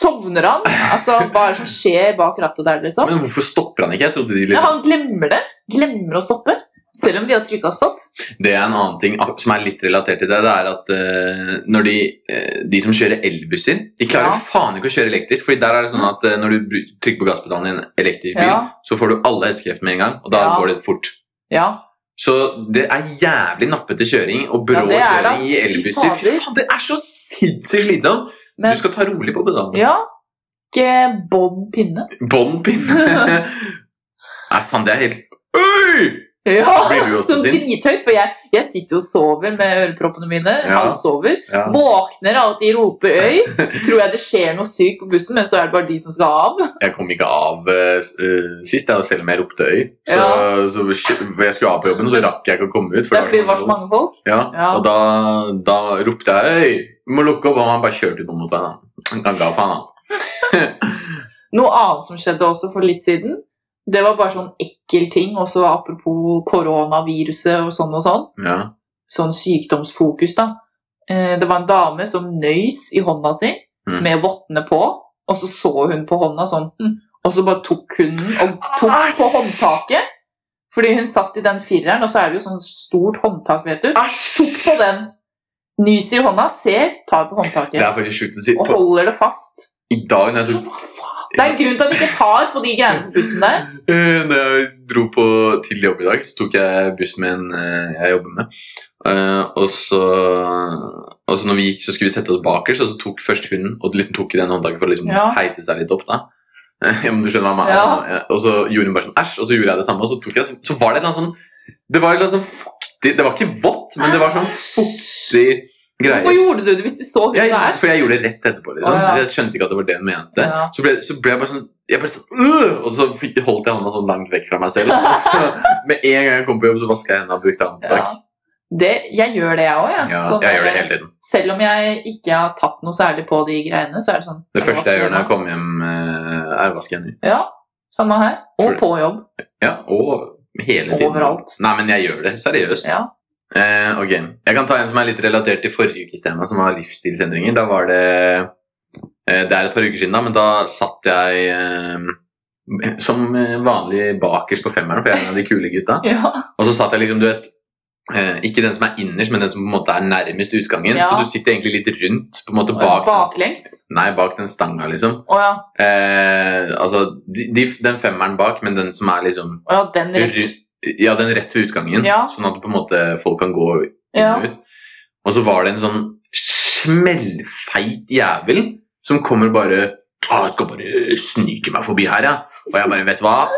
Speaker 3: Sovner han? Altså, Hva er det som skjer bak rattet der, liksom?
Speaker 1: Men hvorfor stopper han ikke? Jeg trodde de
Speaker 3: Ja,
Speaker 1: liksom
Speaker 3: han glemmer det. Glemmer å stoppe. Selv om de har trykka stopp.
Speaker 1: Det er en annen ting ak- som er litt relatert til det. Det er at eh, når de, eh, de som kjører elbusser, de klarer
Speaker 3: Ja. Mm.
Speaker 1: faen ikke å kjøre elektrisk. Fordi der er det sånn at eh, når du bru- trykker på gasspedalen i en elektrisk bil,
Speaker 3: Ja.
Speaker 1: så får du alle hestekreftene med en gang, og da
Speaker 3: Ja.
Speaker 1: går det fort.
Speaker 3: Ja.
Speaker 1: Så det er jævlig nappete kjøring og brå
Speaker 3: Ja, det er det, ass.
Speaker 1: kjøring i elbusser. Fy
Speaker 3: Fy fader.
Speaker 1: faen, det er så sinnssykt slitsomt!
Speaker 3: Men
Speaker 1: Du skal ta rolig på pedalen.
Speaker 3: ja, ikke bånn pinne.
Speaker 1: Bånd pinne. Nei, faen, det er helt Øy!
Speaker 3: Ja,
Speaker 1: Blir du også
Speaker 3: sånn
Speaker 1: sint?
Speaker 3: drithøyt, for jeg, jeg sitter jo og sover med øreproppene mine.
Speaker 1: Ja.
Speaker 3: Halvsover.
Speaker 1: Ja.
Speaker 3: Våkner av at de roper øy. Tror jeg det skjer noe sykt på bussen, men så er det bare de som skal av.
Speaker 1: Jeg kom ikke av eh, s- eh, sist, jeg, selv om jeg ropte øy. Så,
Speaker 3: Ja.
Speaker 1: så sk- jeg skulle av på jobben, så rakk jeg ikke å komme ut.
Speaker 3: Det er fordi det var så mange folk.
Speaker 1: Ja,
Speaker 3: Ja.
Speaker 1: Og da, da ropte jeg øy! Du må lukke opp, og han bare kjørte ut mot meg. da. Han ga faen, han.
Speaker 3: Noe annet som skjedde også for litt siden, det var bare sånn ekkel ting, også apropos koronaviruset og sånn og sånn.
Speaker 1: Ja.
Speaker 3: Sånn sykdomsfokus, da. Eh, Det var en dame som nøys i hånda si
Speaker 1: Mm.
Speaker 3: med vottene på, og så så hun på hånda sånn, «Hm», og så bare tok hun den og tok på håndtaket. Fordi hun satt i den fireren, og så er det jo sånn stort håndtak, vet du. Tok på den. Nyser i hånda, ser, tar på
Speaker 1: Det
Speaker 3: håndtaket
Speaker 1: er faktisk sjukt å si.
Speaker 3: og holder det fast.
Speaker 1: I dag når jeg
Speaker 3: Så
Speaker 1: tok
Speaker 3: hva faen? Det er en grunn til at de ikke tar på de greiene på bussen der.
Speaker 1: Eh, Når jeg dro på til jobb i dag, så tok jeg buss med en eh, jeg jobber med. Eh, og, så, og så når vi gikk, så skulle vi sette oss bakerst, og så tok først hun og liksom tok i den håndtaket for å liksom
Speaker 3: Ja.
Speaker 1: heise seg litt opp. da. Eh, om du skjønner hva jeg mener.
Speaker 3: Ja.
Speaker 1: sånn, eh, Og så gjorde hun bare sånn æsj, og så gjorde jeg det samme. Og så, tok jeg, sånn- så var det et eller annet sånn Det var et eller annet sånn fuktig Det var ikke vått, men det var sånn fuktig greie.
Speaker 3: Hvorfor gjorde du det hvis du så hun
Speaker 1: Jeg,
Speaker 3: der?
Speaker 1: for jeg gjorde det rett etterpå. liksom
Speaker 3: Å, ja.
Speaker 1: Jeg skjønte ikke at det var det hun mente.
Speaker 3: Ja.
Speaker 1: Så, ble, så ble jeg bare sånn, jeg ble sånn «Åh!» Og så fikk, holdt jeg hånda sånn langt vekk fra meg selv. Så, med en gang jeg kom på jobb, så vaska jeg hendene og brukte
Speaker 3: Ja.
Speaker 1: antibac.
Speaker 3: Det, jeg gjør det, jeg òg.
Speaker 1: Ja, jeg gjør det hele tiden.
Speaker 3: Selv om jeg ikke har tatt noe særlig på de greiene, så er det sånn
Speaker 1: Det første jeg gjør når jeg kommer
Speaker 3: kommer
Speaker 1: hjem, eh, er å vaske hender.
Speaker 3: Ja, Samme her. Og
Speaker 1: Tror-
Speaker 3: på jobb.
Speaker 1: Ja, og hele tiden.
Speaker 3: Overalt.
Speaker 1: Nei, men jeg gjør det seriøst.
Speaker 3: Ja.
Speaker 1: Eh, ok, Jeg kan ta en som er litt relatert til forrige ukes tema, som var livsstilsendringer. Da var det eh, Det er et par uker siden, da, men da satt jeg eh, som eh, vanlig bakerst på femmeren, for jeg er en av de kule gutta.
Speaker 3: Ja.
Speaker 1: Og så satt jeg liksom, du vet eh, Ikke den som er innerst, men den som på en måte er nærmest utgangen.
Speaker 3: Ja.
Speaker 1: Så du sitter egentlig litt rundt, på en måte bak,
Speaker 3: Baklengs.
Speaker 1: Nei, bak den stanga, liksom.
Speaker 3: Å ja.
Speaker 1: Eh, altså, de, de, den femmeren bak, men den som er liksom
Speaker 3: Å ja, den rett.
Speaker 1: ru- Ja, den rett ved utgangen.
Speaker 3: Ja.
Speaker 1: Sånn at på en måte folk kan gå inn
Speaker 3: Ja.
Speaker 1: og ut. Og så var det en sånn smellfeit jævel som kommer og bare Å, jeg skal bare snike meg forbi her, ja. Og jeg bare, vet du hva?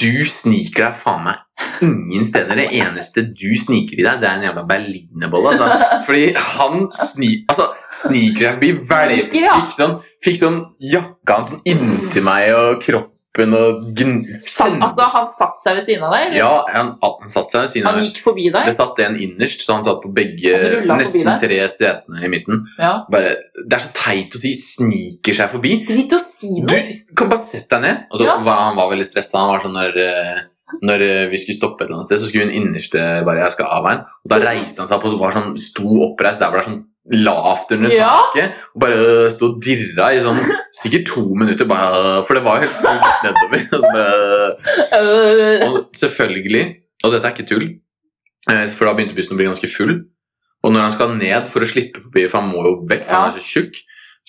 Speaker 1: Du sniker deg faen meg ingen steder. Det eneste du sniker i deg, det er en jævla berlinerbolle. Altså. Fordi han sni, altså, sniker seg forbi velger.
Speaker 3: Sniker, ja.
Speaker 1: Fikk sånn, fikk sånn jakka hans sånn inntil meg og kroppen og gn...
Speaker 3: Han, altså, han satte seg ved siden av deg? eller?
Speaker 1: Ja, han, han satt seg ved siden av
Speaker 3: Han
Speaker 1: meg.
Speaker 3: gikk forbi deg?
Speaker 1: Det satt en innerst, så han satt på begge,
Speaker 3: Han rullet forbi
Speaker 1: nesten
Speaker 3: deg.
Speaker 1: tre setene i midten.
Speaker 3: Ja.
Speaker 1: Bare, det er så teit å si 'sniker seg forbi'.
Speaker 3: Drit å si
Speaker 1: Du
Speaker 3: noe!
Speaker 1: kan bare sette deg ned. Og så,
Speaker 3: Ja.
Speaker 1: var, han var veldig stressa. Han var sånn når, eh, når eh, vi skulle stoppe et eller annet sted, så skulle hun innerste bare 'jeg skal av her'. Og da reiste han seg opp og så var sånn, sto oppreist der hvor det er sånn lavt under
Speaker 3: Ja.
Speaker 1: taket. Og bare øh, sto og dirra i sånn sikkert to minutter, bare, øh, for det var jo helt fullt nedover. Og så bare... øh,
Speaker 3: Øh,
Speaker 1: og selvfølgelig, og dette er ikke tull, eh, for da begynte bussen å bli ganske full. Og når han skal ned for å slippe forbi, for han må jo vekk, for han er så tjukk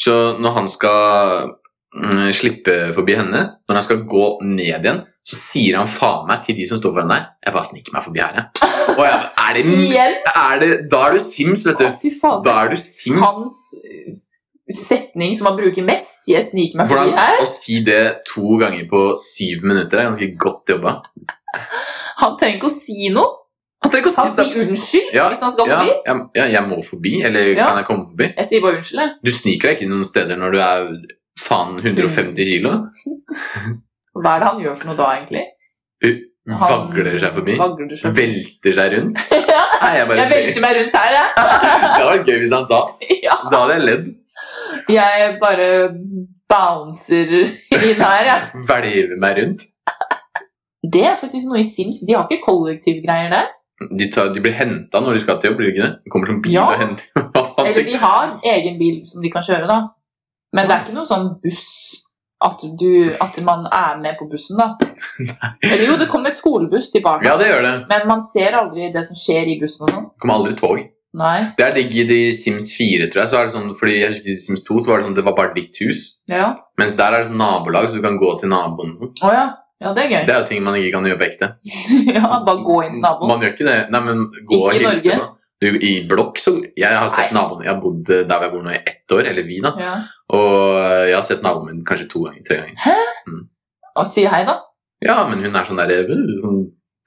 Speaker 1: Så når han skal mm, slippe forbi henne, når han skal gå ned igjen, så sier han faen meg til de som står foran der Jeg bare sniker meg forbi her, jeg. Og jeg er det,
Speaker 3: Igjen!
Speaker 1: er det, da er du Sims, vet
Speaker 3: Å,
Speaker 1: du.
Speaker 3: fy fader.
Speaker 1: Da er du Sims.
Speaker 3: Hans øh, setning som han bruker mest, jeg sniker meg forbi her,
Speaker 1: Hvordan å si det to ganger på syv minutter er ganske godt jobba.
Speaker 3: han trenger ikke å si noe.
Speaker 1: Han trenger ikke å
Speaker 3: Han
Speaker 1: si det.
Speaker 3: sier unnskyld
Speaker 1: Ja,
Speaker 3: hvis han skal
Speaker 1: ja,
Speaker 3: forbi.
Speaker 1: jeg, ja, jeg må forbi, eller
Speaker 3: Ja.
Speaker 1: kan jeg komme forbi?
Speaker 3: Jeg sier bare unnskyld, jeg.
Speaker 1: Du sniker deg ikke noen steder når du er faen 150 kilo.
Speaker 3: Hva er det han gjør for noe da, egentlig? Han
Speaker 1: Vagler seg forbi.
Speaker 3: Vagler seg forbi.
Speaker 1: Velter seg rundt. Nei, jeg bare,
Speaker 3: Jeg velter meg rundt her, jeg.
Speaker 1: Det hadde vært gøy hvis han sa.
Speaker 3: Ja.
Speaker 1: Da hadde jeg ledd.
Speaker 3: Jeg bare bouncer inn her, jeg.
Speaker 1: Hvelver meg rundt.
Speaker 3: Det er faktisk noe i Sims. De har ikke kollektivgreier der.
Speaker 1: De, tar, de blir henta når de skal til jobb, blir de ikke det? Det kommer som bil
Speaker 3: Ja.
Speaker 1: og henter Hva faen
Speaker 3: Eller
Speaker 1: tenker-
Speaker 3: de har egen bil som de kan kjøre, da. Men det er ikke noe sånn buss at, du, at man er med på bussen, da. Eller jo, det kommer et skolebuss til barna,
Speaker 1: Ja, det gjør det.
Speaker 3: men man ser aldri det som skjer i bussen og sånn.
Speaker 1: Det kommer aldri tog.
Speaker 3: Nei.
Speaker 1: Det er digg i de Sims 4, tror jeg. Så er det sånn, fordi jeg husker i Sims 2 så var det sånn det var bare ditt hus.
Speaker 3: Ja.
Speaker 1: Mens der er det sånn nabolag, så du kan gå til naboen.
Speaker 3: Å ja. Ja, det er
Speaker 1: Det
Speaker 3: gøy.
Speaker 1: er jo ting man ikke kan gjøre på ekte.
Speaker 3: ja, bare gå inn til naboen.
Speaker 1: Man gjør ikke det. Nei, men gå
Speaker 3: Ikke
Speaker 1: og
Speaker 3: i
Speaker 1: hilse.
Speaker 3: Norge.
Speaker 1: da. Du, I blokk så Jeg har sett
Speaker 3: Nei.
Speaker 1: naboen Jeg har bodd der hvor jeg bor nå i ett år, eller vi, da.
Speaker 3: Ja.
Speaker 1: Og jeg har sett naboen min kanskje to ganger, tre ganger.
Speaker 3: Og si hei, da.
Speaker 1: Ja, men hun er sånn der øh, sånn,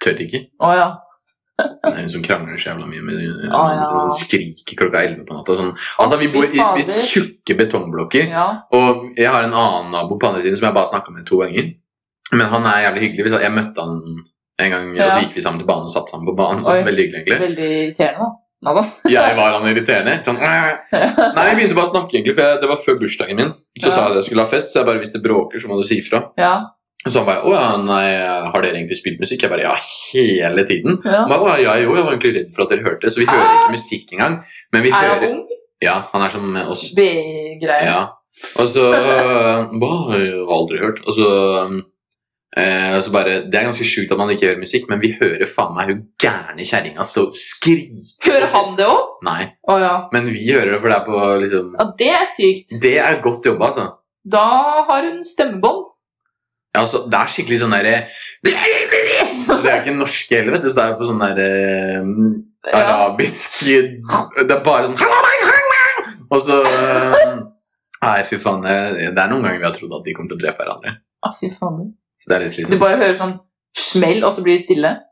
Speaker 1: Tør ikke.
Speaker 3: Å ja.
Speaker 1: Det er hun som krangler så jævla mye med hun
Speaker 3: Å, Ah, ja.
Speaker 1: sånn, sånn skriker klokka elleve på natta. Sånn. Altså, vi
Speaker 3: fy
Speaker 1: bor i, i
Speaker 3: fader.
Speaker 1: tjukke betongblokker.
Speaker 3: Ja.
Speaker 1: Og jeg har en annen nabo på andre siden som jeg bare snakka med to ganger. Men han er jævlig hyggelig. Vi sa- Jeg møtte han en gang, og så
Speaker 3: Ja.
Speaker 1: gikk vi sammen til banen og satt sammen på banen. Så
Speaker 3: Oi.
Speaker 1: veldig hyggelig, egentlig.
Speaker 3: Veldig irriterende, da. Nå, da.
Speaker 1: Jeg var han irriterende. Sånn, "Æ." Nei, jeg begynte bare å snakke, egentlig, for jeg, det var før bursdagen min. Så
Speaker 3: Ja.
Speaker 1: sa jeg at jeg skulle ha fest, så jeg bare hvis det bråker, så må du si ifra.
Speaker 3: Ja.
Speaker 1: Og så han bare Å ja, nei, har dere egentlig spilt musikk? Jeg bare Ja, hele tiden.
Speaker 3: ja.
Speaker 1: Han bare, Å, ja, jo, jeg var egentlig redd for at dere hørte det, så vi hører ikke musikk engang. Men vi
Speaker 3: Ah! Er han
Speaker 1: hører
Speaker 3: ung?
Speaker 1: Ja, han er som med oss.
Speaker 3: B-greier.
Speaker 1: Ja. Og så Hva? Jeg har aldri hørt. Og så eh, så bare, Det er ganske sjukt at man ikke hører musikk, men vi hører faen meg hun gærne kjerringa så skrike.
Speaker 3: Hører han det òg?
Speaker 1: Nei.
Speaker 3: Å ja.
Speaker 1: Men vi hører det, for det er på liksom
Speaker 3: ja. Det er sykt.
Speaker 1: Det er godt jobba, altså.
Speaker 3: da har hun stemmebånd.
Speaker 1: Ja, altså, det er skikkelig sånn derre Det er jo ikke norske heller, vet du, så det er jo på sånn derre
Speaker 3: Ja.
Speaker 1: arabisk Det er bare sånn Og så eh, Nei, fy faen. Det det er noen ganger vi har trodd at de kommer til å drepe hverandre.
Speaker 3: Å, fy faen.
Speaker 1: Så det er litt
Speaker 3: Du
Speaker 1: liksom
Speaker 3: bare hører sånn smell, og så blir det stille.